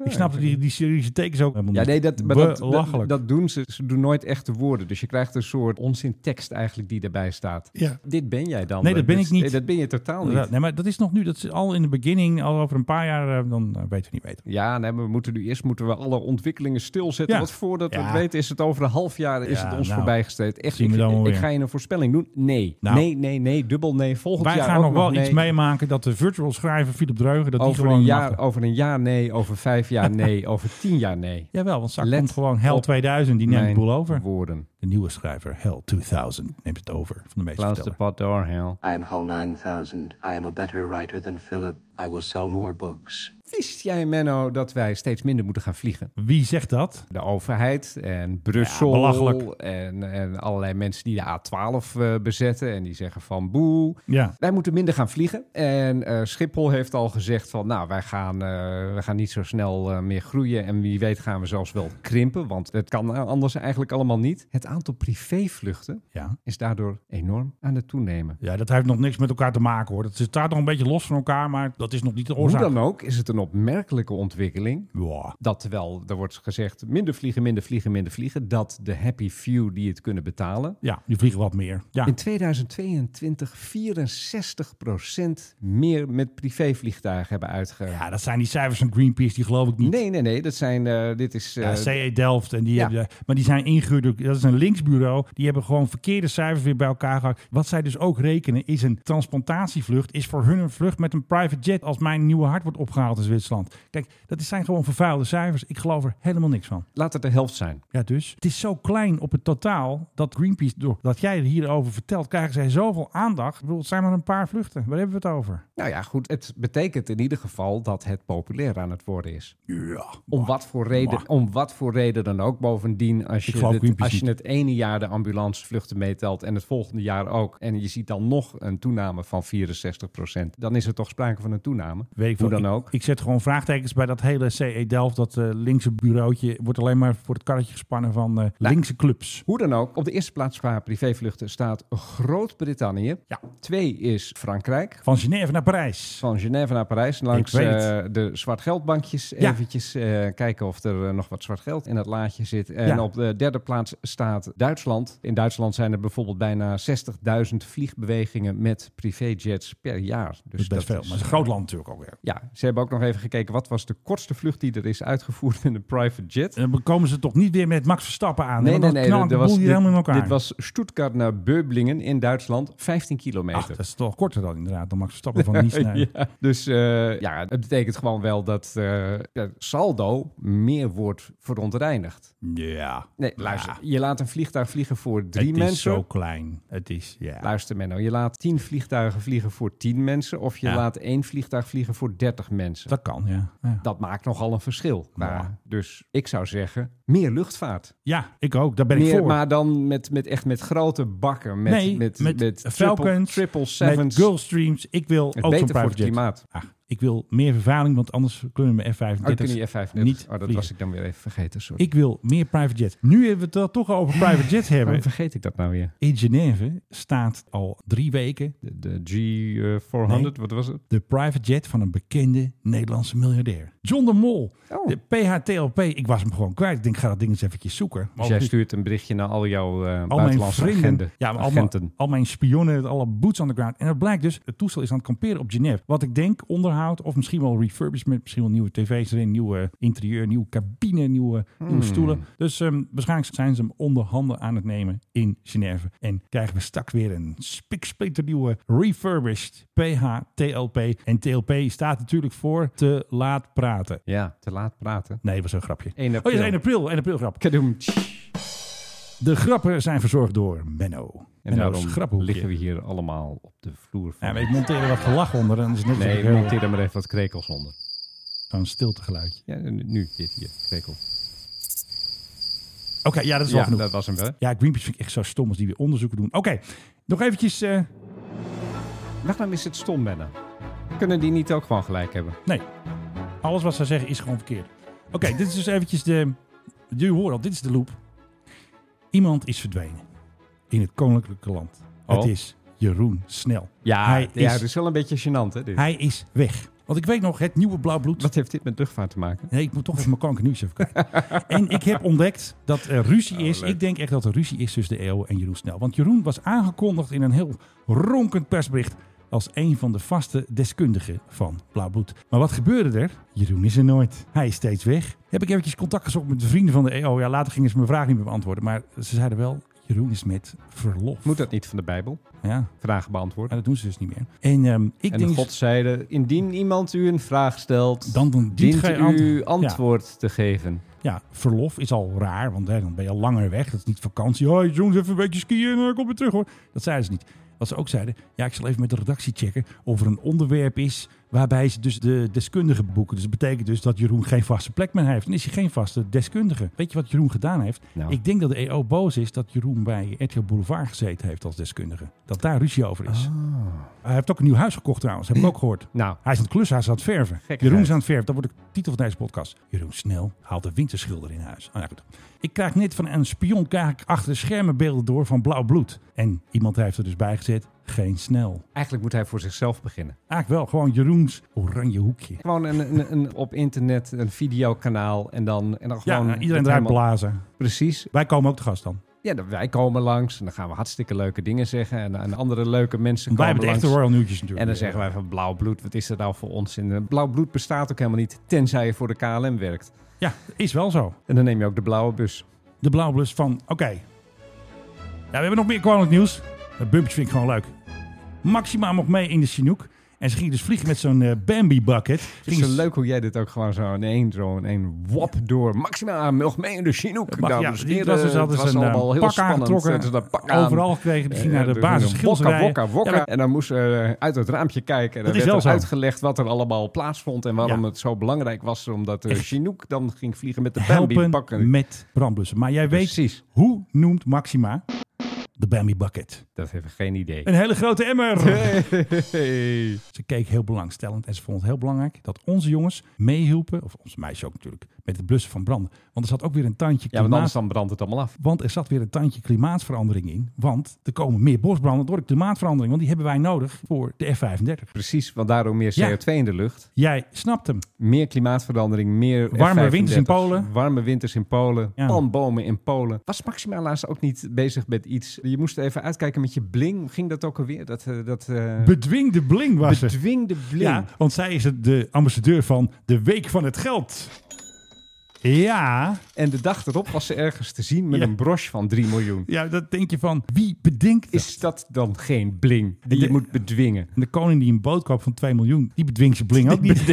S3: Ik snapte die, die Syrische tekens ook helemaal
S2: Ah, Ja,
S3: niet.
S2: nee, dat, maar dat,
S3: Mm. Belachelijk.
S2: dat, dat doen ze. Ze doen nooit echte woorden. Dus je krijgt een soort onzin tekst eigenlijk die erbij staat.
S3: Ja.
S2: Dit ben jij dan.
S3: Nee, dat ben
S2: Dit-
S3: ik niet.
S2: Nee, dat ben je totaal niet.
S3: Ja, Nee, maar dat is nog nu. Dat is al in de beginning, al over een paar jaar, eh, dan eh, weten we niet beter.
S2: Ja, nee, maar we moeten nu eerst moeten we alle ontwikkelingen stilzetten.
S3: Ja.
S2: Want voordat we
S3: Ja.
S2: het weten is het over een half jaar is
S3: Ja,
S2: het ons
S3: nou,
S2: voorbijgestreefd. Echt,
S3: zien
S2: ik,
S3: we dan wel
S2: ik
S3: weer.
S2: ga je een voorspelling doen? Nee.
S3: Nou.
S2: nee, nee, nee. Dubbel nee. Volgend
S3: Wij
S2: jaar
S3: gaan
S2: ook
S3: nog wel
S2: nee.
S3: iets meemaken dat de virtual schrijver Philip Dreugen, dat die
S2: Over
S3: gewoon
S2: een,
S3: de
S2: jaar,
S3: macht-
S2: over een jaar nee, over vijf jaar nee, over tien jaar nee.
S3: Jawel, want straks
S2: Let
S3: komt gewoon Hell
S2: op
S3: 2000, die neemt de
S2: Mijn
S3: boel over.
S2: woorden.
S3: De nieuwe schrijver Hell 2000 neemt het over van de meeste
S2: Klaus de
S3: verteller.
S2: pot door, hell.
S12: I am Hull 9000. I am a better writer than Philip. I will sell more books.
S2: Wist jij, Menno, dat wij steeds minder moeten gaan vliegen?
S3: Wie zegt dat?
S2: De overheid en Brussel.
S3: Ja, belachelijk.
S2: En, en allerlei mensen die de A12 eh, bezetten. En die zeggen van boe.
S3: Ja.
S2: Wij moeten minder gaan vliegen. En eh, Schiphol heeft al gezegd van nou, wij gaan, eh, we gaan niet zo snel eh, meer groeien. En wie weet gaan we zelfs wel krimpen. Want het kan anders eigenlijk allemaal niet. Het aantal privévluchten
S3: Ja.
S2: is daardoor enorm aan het toenemen.
S3: Ja, dat heeft nog niks met elkaar te maken hoor. Het staat nog een beetje los van elkaar, maar dat is nog niet de
S2: Hoe
S3: oorzaak.
S2: dan ook is het een opmerkelijke ontwikkeling.
S3: Ja.
S2: Dat terwijl er wordt gezegd minder vliegen, minder vliegen, minder vliegen. Dat de happy few die het kunnen betalen.
S3: ja, die vliegen wat meer. Ja.
S2: In 2022 64% meer met privévliegtuigen hebben uitge...
S3: ja, dat zijn die cijfers van Greenpeace, die geloof ik niet.
S2: Nee, nee, nee. Dat zijn, eh, dit is...
S3: Ja,
S2: eh,
S3: CE Delft. En die
S2: ja.
S3: hebben, maar die zijn ingehuurd. door- Dat is een linksbureau. Die hebben gewoon verkeerde cijfers weer bij elkaar gehakt. Wat zij dus ook rekenen is een transplantatievlucht. Is voor hun een vlucht met een private jet. Als mijn nieuwe hart wordt opgehaald in Zwitserland. Kijk, dat zijn gewoon vervuilde cijfers. Ik geloof er helemaal niks van.
S2: Laat het de helft zijn.
S3: Ja, dus. Het is zo klein op het totaal dat Greenpeace, doordat jij er hierover vertelt, krijgen zij zoveel aandacht. Ik bedoel, het zijn maar een paar vluchten. Waar hebben we het over?
S2: Nou ja, goed. Het betekent in ieder geval dat het populair aan het worden is.
S3: Ja.
S2: Om wat voor reden, om wat voor reden dan ook. Bovendien, als
S3: Ik
S2: je,
S3: geloof
S2: het,
S3: Greenpeace
S2: als je
S3: niet.
S2: het ene jaar de ambulancevluchten meetelt en het volgende jaar ook. En je ziet dan nog een toename van 64%. Dan is er toch sprake van een toename.
S3: Weet ik
S2: Hoe
S3: veel.
S2: dan
S3: Ik-
S2: ook.
S3: Ik, zet gewoon vraagtekens bij dat hele CE Delft. Dat eh, linkse bureautje wordt alleen maar voor het karretje gespannen van
S2: Nou.
S3: eh, linkse clubs.
S2: Hoe dan ook, op de eerste plaats qua privévluchten staat Groot-Brittannië.
S3: Ja.
S2: Twee is Frankrijk.
S3: Van Genève naar Parijs.
S2: Van Genève naar Parijs, langs
S3: weet
S2: eh, de zwartgeldbankjes.
S3: Ja.
S2: Eventjes eh, kijken of er eh, nog wat zwart geld in dat laadje zit. En
S3: Ja.
S2: op de derde plaats staat Duitsland. In Duitsland zijn er bijvoorbeeld bijna 60.000 vliegbewegingen met privéjets per jaar. Dus
S3: Dat is best veel. Maar het is een groot land natuurlijk ook weer.
S2: Ja, ze hebben ook nog even gekeken wat was de kortste vlucht die er is uitgevoerd in een private jet.
S3: En dan komen ze toch niet weer met Max Verstappen aan. Eh, Nee, nee, nee.
S2: er-
S3: Dat
S2: er was-
S3: was, hier
S2: dit,
S3: helemaal in elkaar.
S2: dit was Stuttgart naar Beublingen in Duitsland, 15 kilometer.
S3: Ach, dat is toch korter dan inderdaad dan Max Verstappen van Nice naar...
S2: Ja. Dus eh, ja, het betekent gewoon wel dat eh, ja, saldo meer wordt verontreinigd.
S3: Ja.
S2: Nee,
S3: Ja.
S2: luister. Je laat een vliegtuig vliegen voor drie
S3: het is
S2: mensen.
S3: zo klein. Het is, ja.
S2: Luister Menno, je laat tien vliegtuigen vliegen voor tien mensen... of je
S3: Ja.
S2: laat één vliegtuig vliegen voor dertig mensen. Dat,
S3: Dat kan, ja. ja.
S2: maakt nogal een verschil. qua-
S3: Ja.
S2: Dus ik zou zeggen, meer luchtvaart.
S3: Ja, ik ook. Daar ben ik
S2: meer,
S3: voor.
S2: maar dan met, met, echt met grote bakken. Met,
S3: nee,
S2: met,
S3: met,
S2: triple-
S3: Falcons,
S2: triple
S3: met
S2: sevens.
S3: Gulfstreams. Ik wil
S2: Het
S3: ook zo'n
S2: beter voor
S3: private
S2: het
S3: jet.
S2: klimaat.
S3: Ach, ik wil meer vervuiling, want anders kunnen we F-35
S2: Oh, kun je F-35.
S3: niet
S2: oh, dat
S3: vliegen.
S2: was ik dan weer even vergeten. Sorry.
S3: Ik wil meer private jet. Nu hebben we het dan toch over private jet hebben.
S2: Waarom vergeet ik dat nou weer?
S3: In Genève staat al drie weken
S2: De, de G400,
S3: Nee.
S2: wat was het?
S3: de private jet van een bekende Nederlandse miljardair. John de Mol.
S2: Oh.
S3: De PHTLP. Ik was hem gewoon kwijt. Ik denk, ga dat ding eens eventjes zoeken. Maar
S2: Dus jij
S3: goed,
S2: stuurt een berichtje naar al jouw eh
S3: al mijn
S2: buitenlandse
S3: vrienden,
S2: agenden,
S3: ja, maar al, mijn,
S2: agenten.
S3: al mijn spionnen, alle boots on the ground. En dat blijkt dus, het toestel is aan het kamperen op Genève. Wat ik denk, onderhoud of misschien wel refurbishment, misschien wel nieuwe tv's erin, nieuwe eh, interieur, nieuwe cabine, nieuwe,
S2: Hmm.
S3: nieuwe stoelen. Dus ehm, waarschijnlijk zijn ze hem onder handen aan het nemen in Genève. En krijgen we straks weer een spiksplinternieuwe refurbished PH-TLP. En TLP staat natuurlijk voor te laat praten.
S2: Ja, te laat praten.
S3: Nee, was een grapje.
S2: 1
S3: Oh, ja,
S2: april.
S3: 1 april. 1 april grap.
S2: Kadoem.
S3: De grappen zijn verzorgd door Menno.
S2: En
S3: Menno's
S2: daarom
S3: grappenhoekje.
S2: liggen we hier allemaal op de vloer. Van.
S3: Ja, maar ik monteer er wat gelach onder en dan is het net
S2: nee,
S3: zo'n-
S2: monteer er maar even wat krekels onder.
S3: zo'n stiltegeluidje.
S2: Ja, nu, dit hier, krekel.
S3: Oké, ja, dat is wel
S2: Ja,
S3: genoeg.
S2: dat was hem wel.
S3: Ja, Greenpeace vind ik echt zo stom als die weer onderzoeken doen. Oké, nog eventjes... eh,
S2: Wacht nou, is het stom, Benna. Kunnen die niet ook gewoon gelijk hebben?
S3: nee, alles wat zij zeggen is gewoon verkeerd. Oké, dit is dus eventjes de... Je hoort al, dit is de loop. Iemand is verdwenen in het koninklijke land.
S2: Oh.
S3: Het is Jeroen Snel.
S2: Ja,
S3: hij,
S2: ja
S3: is,
S2: dat is wel een beetje gênant, hè? Dit.
S3: hij is weg. Want ik weet nog, het nieuwe blauw bloed...
S2: Wat heeft dit met luchtvaart te maken?
S3: Nee, ik moet toch even mijn kankernieuws even kwijt. en ik heb ontdekt dat er ruzie
S2: Oh,
S3: is. ik denk echt dat er ruzie is tussen de EO en Jeroen Snel. Want Jeroen was aangekondigd in een heel ronkend persbericht... als een van de vaste deskundigen van Blauwbloed. Maar wat gebeurde er? Jeroen is er nooit. Hij is steeds weg. Heb ik eventjes contact gezocht met de vrienden van de EO. Ja, later gingen ze mijn vraag niet meer beantwoorden. Maar ze zeiden wel, Jeroen is met verlof.
S2: Moet dat niet van de Bijbel?
S3: Ja,
S2: Vragen beantwoord.
S3: maar dat doen ze dus niet meer. En ehm, ik
S2: en
S3: denk...
S2: God zeide, indien iemand u een vraag stelt,
S3: Dan- dan dient
S2: dient
S3: gij
S2: u
S3: antwo-
S2: antwoord te geven.
S3: Ja, verlof is al eh, raar, want hè, dan ben je al langer weg. Dat is niet vakantie. Hoi, jongens, even een beetje skiën en dan kom je terug hoor. Dat zeiden ze niet. Wat ze ook zeiden, ja, ik zal even met de redactie checken of er een onderwerp is waarbij ze dus de deskundigen boeken. Dus dat betekent dus dat Jeroen geen vaste plek meer heeft. Dan is hij geen vaste deskundige. Weet je wat Jeroen gedaan heeft?
S2: Nou.
S3: Ik denk dat de EO boos is dat Jeroen bij RTL Boulevard gezeten heeft als deskundige. Dat daar ruzie over is. Hij heeft ook een nieuw huis gekocht trouwens, heb ik ook gehoord.
S2: Nou.
S3: Hij is aan het klussen, hij is aan het verven.
S2: Gekkigheid.
S3: Jeroen is aan het verven, dat wordt de titel van deze podcast. Jeroen Snel haalt de winterschilder in huis. Oh, ja, goed. Ik krijg net van een spion krijg ik achter de schermen beelden door van blauw bloed. En iemand heeft er dus bij gezet, geen Snel.
S2: Eigenlijk moet hij voor zichzelf beginnen.
S3: Eigenlijk wel, gewoon Jeroens oranje hoekje.
S2: Gewoon een, een, een, op internet een videokanaal en dan, en dan
S3: Ja,
S2: gewoon...
S3: iedereen draait
S2: helemaal-
S3: blazen.
S2: Precies.
S3: Wij komen ook te gast dan.
S2: Ja, dan- wij komen langs en dan gaan we hartstikke leuke dingen zeggen. En, en andere leuke mensen
S3: Wij
S2: komen
S3: hebben de
S2: langs.
S3: echte Royal Nieuwtjes natuurlijk.
S2: En dan zeggen wij van blauw bloed, wat is dat nou voor ons? En blauw bloed bestaat ook helemaal niet, tenzij je voor de KLM werkt.
S3: Ja, is wel zo.
S2: En dan neem je ook de blauwe bus.
S3: De blauwe blus van, oké. Ja, we hebben nog meer kwalijk nieuws. Dat bumpje vind ik gewoon leuk. Maxima mocht mee in de Chinook. En ze ging dus vliegen met zo'n eh, Bambi bucket.
S2: Het
S3: Ging
S2: is zo
S3: ze-
S2: leuk hoe jij dit ook gewoon zo in één, zo in één wap door. Maxima, nog mee in de Chinook.
S3: Mag-
S2: dames
S3: ja,
S2: en
S3: die
S2: heren.
S3: was dus
S2: Het
S3: altijd
S2: was
S3: een eh,
S2: allemaal heel
S3: pak
S2: spannend.
S3: aangetrokken.
S2: Ze hadden dat pak aan.
S3: Overal gekregen. Die ging naar de
S2: Eh,
S3: basis
S2: er ging een Wokka,
S3: Schilderij.
S2: wokka,
S3: Ja,
S2: wokka.
S3: maar-
S2: En dan moest ze uit het raampje kijken. En dan
S3: Dat is
S2: werd
S3: wel
S2: er
S3: zo.
S2: uitgelegd wat er allemaal plaatsvond. En waarom
S3: Ja.
S2: het zo belangrijk was. Omdat de
S3: Echt.
S2: Chinook dan ging vliegen met de Bambi
S3: helpen
S2: pakken.
S3: met brandblussen. Maar jij weet,
S2: Precies.
S3: hoe noemt Maxima de Bambi bucket?
S2: Dat heeft geen idee.
S3: Een hele grote emmer.
S2: Hey.
S3: Ze keek heel belangstellend en ze vond het heel belangrijk dat onze jongens meehielpen, of onze meisjes ook natuurlijk, met het blussen van branden. Want er zat ook weer een tandje
S2: Ja, want
S3: klimaat-
S2: anders dan brandt het allemaal af.
S3: Want er zat weer een tandje klimaatverandering in. Want er komen meer bosbranden door de klimaatverandering. Want die hebben wij nodig voor de F-35.
S2: Precies, want daardoor meer
S3: Ja.
S2: CO2 in de lucht.
S3: Jij snapt hem.
S2: Meer klimaatverandering, meer
S3: Warme
S2: F35's,
S3: winters in Polen.
S2: Warme winters in Polen,
S3: Ja.
S2: palmbomen in Polen. Was Maxima laatst ook niet bezig met iets? Je moest even uitkijken met je bling. Ging dat ook alweer? Dat, eh, dat, eh,
S3: Bedwing de bling was ze.
S2: bedwing de bling.
S3: Ja, want zij is het- de ambassadeur van de Week van het Geld. Ja,
S2: En de dag erop was ze ergens te zien met
S3: Ja.
S2: een broche van 3 miljoen.
S3: ja, dat denk je van, wie bedenkt dat?
S2: Is dat dan geen bling die je
S3: De-
S2: moet bedwingen?
S3: En de koning die een boot koopt van 2 miljoen, die bedwingt zijn bling ook niet.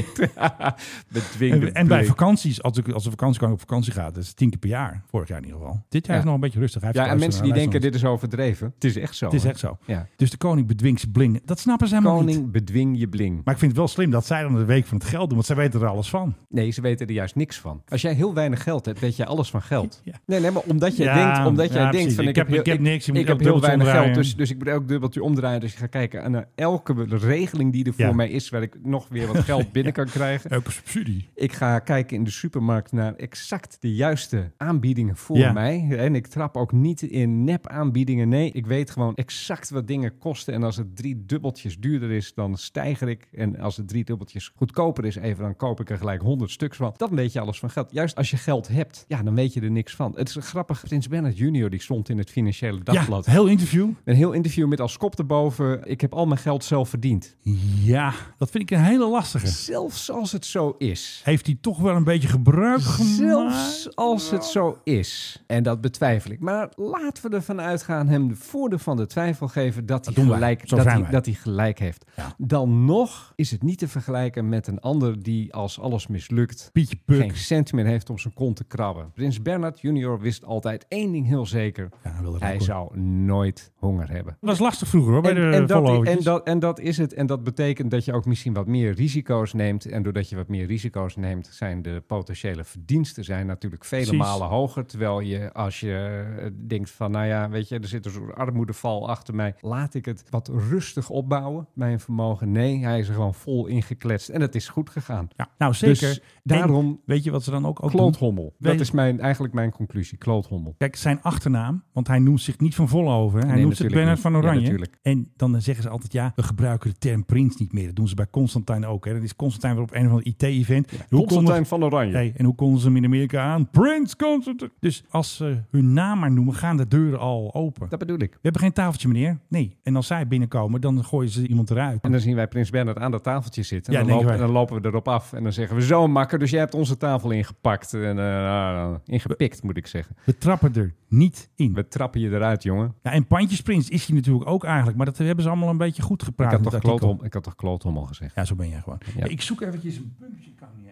S2: Bedwing de
S3: En, en bij
S2: bling.
S3: vakanties, als, ik, als de vakantiekoning op vakantie gaat, dat is tien keer per jaar. Vorig jaar in ieder geval. Dit jaar
S2: Ja.
S3: is nog een beetje rustig. Hij heeft
S2: Ja, en
S3: geluisterd
S2: mensen die
S3: naar-
S2: denken
S3: luisteren.
S2: dit is overdreven. Het is echt zo.
S3: Het is
S2: hè?
S3: echt zo.
S2: Ja.
S3: Dus de koning bedwingt zijn bling. Dat snappen ze helemaal niet.
S2: Koning, bedwing je bling.
S3: Maar ik vind het wel slim dat zij dan de week van het geld doen, want zij weten er alles van.
S2: Nee, ze weten er juist niks van. Als jij heel weinig geld hebt, weet jij alles van geld.
S3: Ja.
S2: Nee, nee, maar omdat jij
S3: Ja,
S2: denkt, omdat
S3: ja,
S2: jij denkt
S3: precies.
S2: van
S3: Ik
S2: ik,
S3: heb- ik heb niks, je
S2: ik,
S3: moet
S2: heb
S3: elk
S2: heel
S3: dubbeltje
S2: weinig geld, dus,
S3: omdraaien.
S2: dus ik moet elk dubbeltje omdraaien. Dus je gaat kijken naar elke regeling die er
S3: Ja.
S2: voor mij is, waar ik nog weer wat geld binnen kan krijgen.
S3: Elke subsidie.
S2: Ik ga kijken in de supermarkt naar exact de juiste aanbiedingen voor
S3: Ja.
S2: mij. En ik trap ook niet in nep aanbiedingen. Nee, ik weet gewoon exact wat dingen kosten. En als het drie dubbeltjes duurder is, dan stijger ik. En als het drie dubbeltjes goedkoper is, even, dan koop ik er gelijk honderd stuks van. Dan weet je alles van geld. Juist als je geld hebt, ja, dan weet je er niks van. Het is grappig. Prins Bernhard junior, die stond in het Financiële Dagblad.
S3: Ja, heel interview.
S2: Een heel interview met als kop erboven. Ik heb al mijn geld zelf verdiend.
S3: Ja, dat vind ik een hele lastige.
S2: Zelfs als het zo is.
S3: Heeft hij toch wel een beetje gebruik gemaakt?
S2: Zelfs als het zo is. En dat betwijfel ik. Maar laten we ervan uitgaan, hem de voordeel van de twijfel geven dat, hij,
S3: doen wij.
S2: gelijk,
S3: Zo
S2: dat,
S3: zijn
S2: hij,
S3: wij.
S2: dat hij gelijk heeft.
S3: Ja.
S2: Dan nog is het niet te vergelijken met een ander die als alles mislukt
S3: Pietje Puk.
S2: geen cent meer heeft om zijn kont te krabben. Prins Bernard junior wist altijd één ding heel zeker.
S3: Ja, hij wilde
S2: hij
S3: ook, hoor.
S2: zou nooit honger hebben.
S3: Dat was lastig vroeger hoor, bij
S2: En,
S3: de
S2: en, dat,
S3: vollovertjes.
S2: en, dat, en dat is het. En dat betekent dat je ook misschien wat meer risico's neemt. En doordat je wat meer risico's neemt, zijn de potentiële verdiensten zijn natuurlijk vele
S3: Precies.
S2: malen hoger. Terwijl je als je eh, denkt van, nou ja, weet je, er zit een soort armoedeval achter mij. Laat ik het wat rustig opbouwen, mijn vermogen. Nee, hij is er gewoon vol ingekletst. En het is goed gegaan.
S3: Ja, nou zeker.
S2: Dus
S3: En
S2: daarom
S3: weet je wat ze dan ook... ook doen?
S2: Kloothommel.
S3: Weet-
S2: Dat is mijn, eigenlijk mijn conclusie. Kloothommel.
S3: Kijk, zijn achternaam, want hij noemt zich niet van Vollenhoven. hè. Hij
S2: Nee,
S3: noemt zich
S2: natuurlijk niet.
S3: Bernard van
S2: Ja,
S3: Oranje.
S2: natuurlijk.
S3: en dan eh, zeggen ze altijd, ja, we gebruiken de term prins niet meer. Dat doen ze bij Constantijn ook. Hè. Dat is Constantijn weer op een of ander IT-event. Hoe konden-
S2: Constantijn van Oranje.
S3: Hey, en hoe konden ze hem in Amerika aan? Prins Constantijn. Dus als ze hun naam maar noemen, gaan de deuren al open.
S2: Dat bedoel ik.
S3: We hebben geen tafeltje, meneer. Nee. En als zij binnenkomen, dan gooien ze iemand eruit.
S2: En dan zien wij Prins Bernhard aan dat tafeltje zitten.
S3: Ja,
S2: En, dan,
S3: denken
S2: lopen, en
S3: wij.
S2: dan lopen we erop af. En dan zeggen we, zo makker, dus jij hebt onze tafel ingepakt. En, eh, eh, ingepikt, moet ik zeggen.
S3: We trappen er niet in.
S2: We trappen je eruit, jongen.
S3: Ja, en Pandjesprins is hij natuurlijk ook eigenlijk. Maar dat hebben ze allemaal een beetje goed
S2: Ik
S3: gepraat.
S2: had,
S3: in
S2: toch
S3: het artikel.
S2: kloothom, ik had toch kloothom al gezegd.
S3: Ja, zo ben jij gewoon.
S2: Ja.
S3: Ik zoek eventjes een puntje, kan niet eens.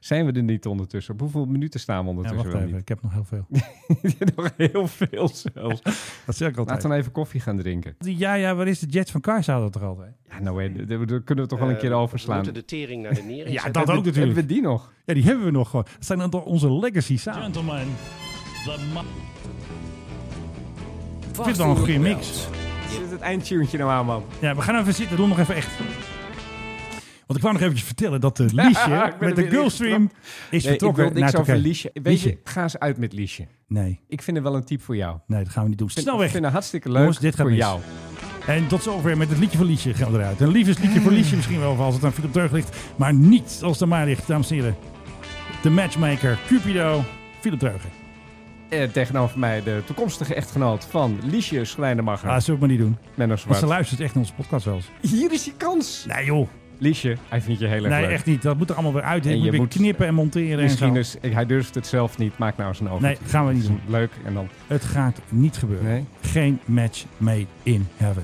S2: Zijn we er niet ondertussen? Op hoeveel minuten staan we
S3: Ja,
S2: ondertussen
S3: wacht
S2: wel
S3: even, ik heb nog heel veel.
S2: niet? nog heel veel zelfs.
S3: Dat zeg ik altijd.
S2: Laten we even koffie gaan drinken.
S3: Die Ja, ja, waar is de Jets van Kaars hadden we toch altijd?
S2: Ja, nou, eh, d- d- daar kunnen we toch wel een keer overslaan.
S12: Moeten de tering naar de nering.
S3: Ja,
S12: zetten.
S3: dat ook natuurlijk.
S2: Hebben we die nog?
S3: Ja, die hebben we nog gewoon. Dat zijn dan toch onze legacy samen.
S13: Gentlemen, the
S3: Ik vind het wel een goede mix.
S2: Zit het eindtuntje nou aan, man?
S3: Ja, we gaan even zitten. Doe hem nog even echt. Want ik wou nog eventjes vertellen dat eh Liesje
S2: Ik ben er
S3: met de
S2: weer
S3: Girlstream is
S2: Nee, ik
S3: vertrokken
S2: wil
S3: naar
S2: niks over
S3: Turkije.
S2: Liesje. Weet je, ga eens uit met Liesje.
S3: Nee.
S2: Ik vind het wel een type voor jou.
S3: Nee, dat gaan we niet doen.
S2: Ik vind-
S3: Snel weg.
S2: Ik vind het hartstikke leuk
S3: Jongens, dit gaat
S2: voor
S3: mis.
S2: jou.
S3: En tot zover met het liedje van Liesje gaan we eruit. Een liefdesliedje voor Liesje misschien wel, of als het aan Philip Deug ligt. Maar niet als het aan mij ligt, dames en heren. De matchmaker, Cupido, Philip Deug.
S2: Eh, tegenover mij de toekomstige echtgenoot van Liesje Schrijnemacher.
S3: Ah, zullen we maar niet doen.
S2: Menno
S3: Want
S2: Zwart.
S3: ze luistert echt naar onze podcast wel eens.
S2: Hier is je kans.
S3: Nee joh.
S2: Liesje, hij vindt je heel erg
S3: Nee,
S2: leuk.
S3: echt niet. Dat moet er allemaal weer uit.
S2: En
S3: Ik moet
S2: je
S3: weer
S2: moet-
S3: knippen en monteren en
S2: Misschien
S3: zo.
S2: is, ik- hij durft het zelf niet. Maak nou eens een over.
S3: Nee, gaan we niet doen.
S2: Leuk en dan. eh,
S3: Het gaat niet gebeuren.
S2: Nee.
S3: Geen match made in heaven.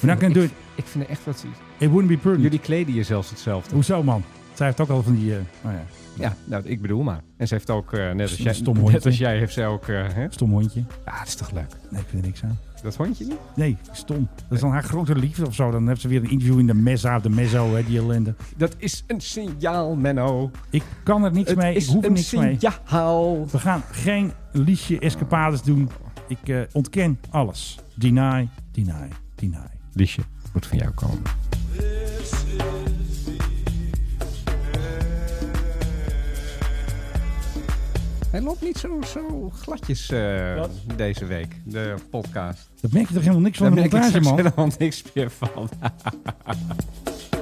S3: We're not gonna
S2: ik,
S3: do it.
S2: ik vind het echt wat.
S3: It wouldn't be prudent.
S2: Jullie kleden je zelfs hetzelfde.
S3: Hoezo man? Zij heeft ook al van die... eh, oh ja.
S2: Ja, nou, ik bedoel maar. En ze heeft ook, eh, net, als
S3: Een
S2: jij,
S3: stom
S2: net
S3: hondje.
S2: als jij, heeft zij ook. eh, hè?
S3: Stom hondje.
S2: Ah, dat is toch leuk?
S3: Nee, ik vind er niks aan.
S2: Dat hondje niet?
S3: Nee, stom. Dat is dan haar grote liefde of zo. Dan heeft ze weer een interview in de Mesa of de Mezzo, hè, die ellende.
S2: Dat is een signaal, Menno.
S3: Ik kan er niks
S2: Het
S3: mee. Ik
S2: is
S3: hoef er
S2: een
S3: niks mee.
S2: signaal.
S3: We gaan geen liedje escapades doen. Ik eh, ontken alles. Deny, deny, deny.
S2: Liesje, moet van jou komen. Hij loopt niet zo, zo gladjes eh, deze week, de podcast.
S3: Dat merk je toch helemaal niks van
S2: Daar
S3: de
S2: merk ik
S3: montage,
S2: straks
S3: man?
S2: helemaal niks meer van.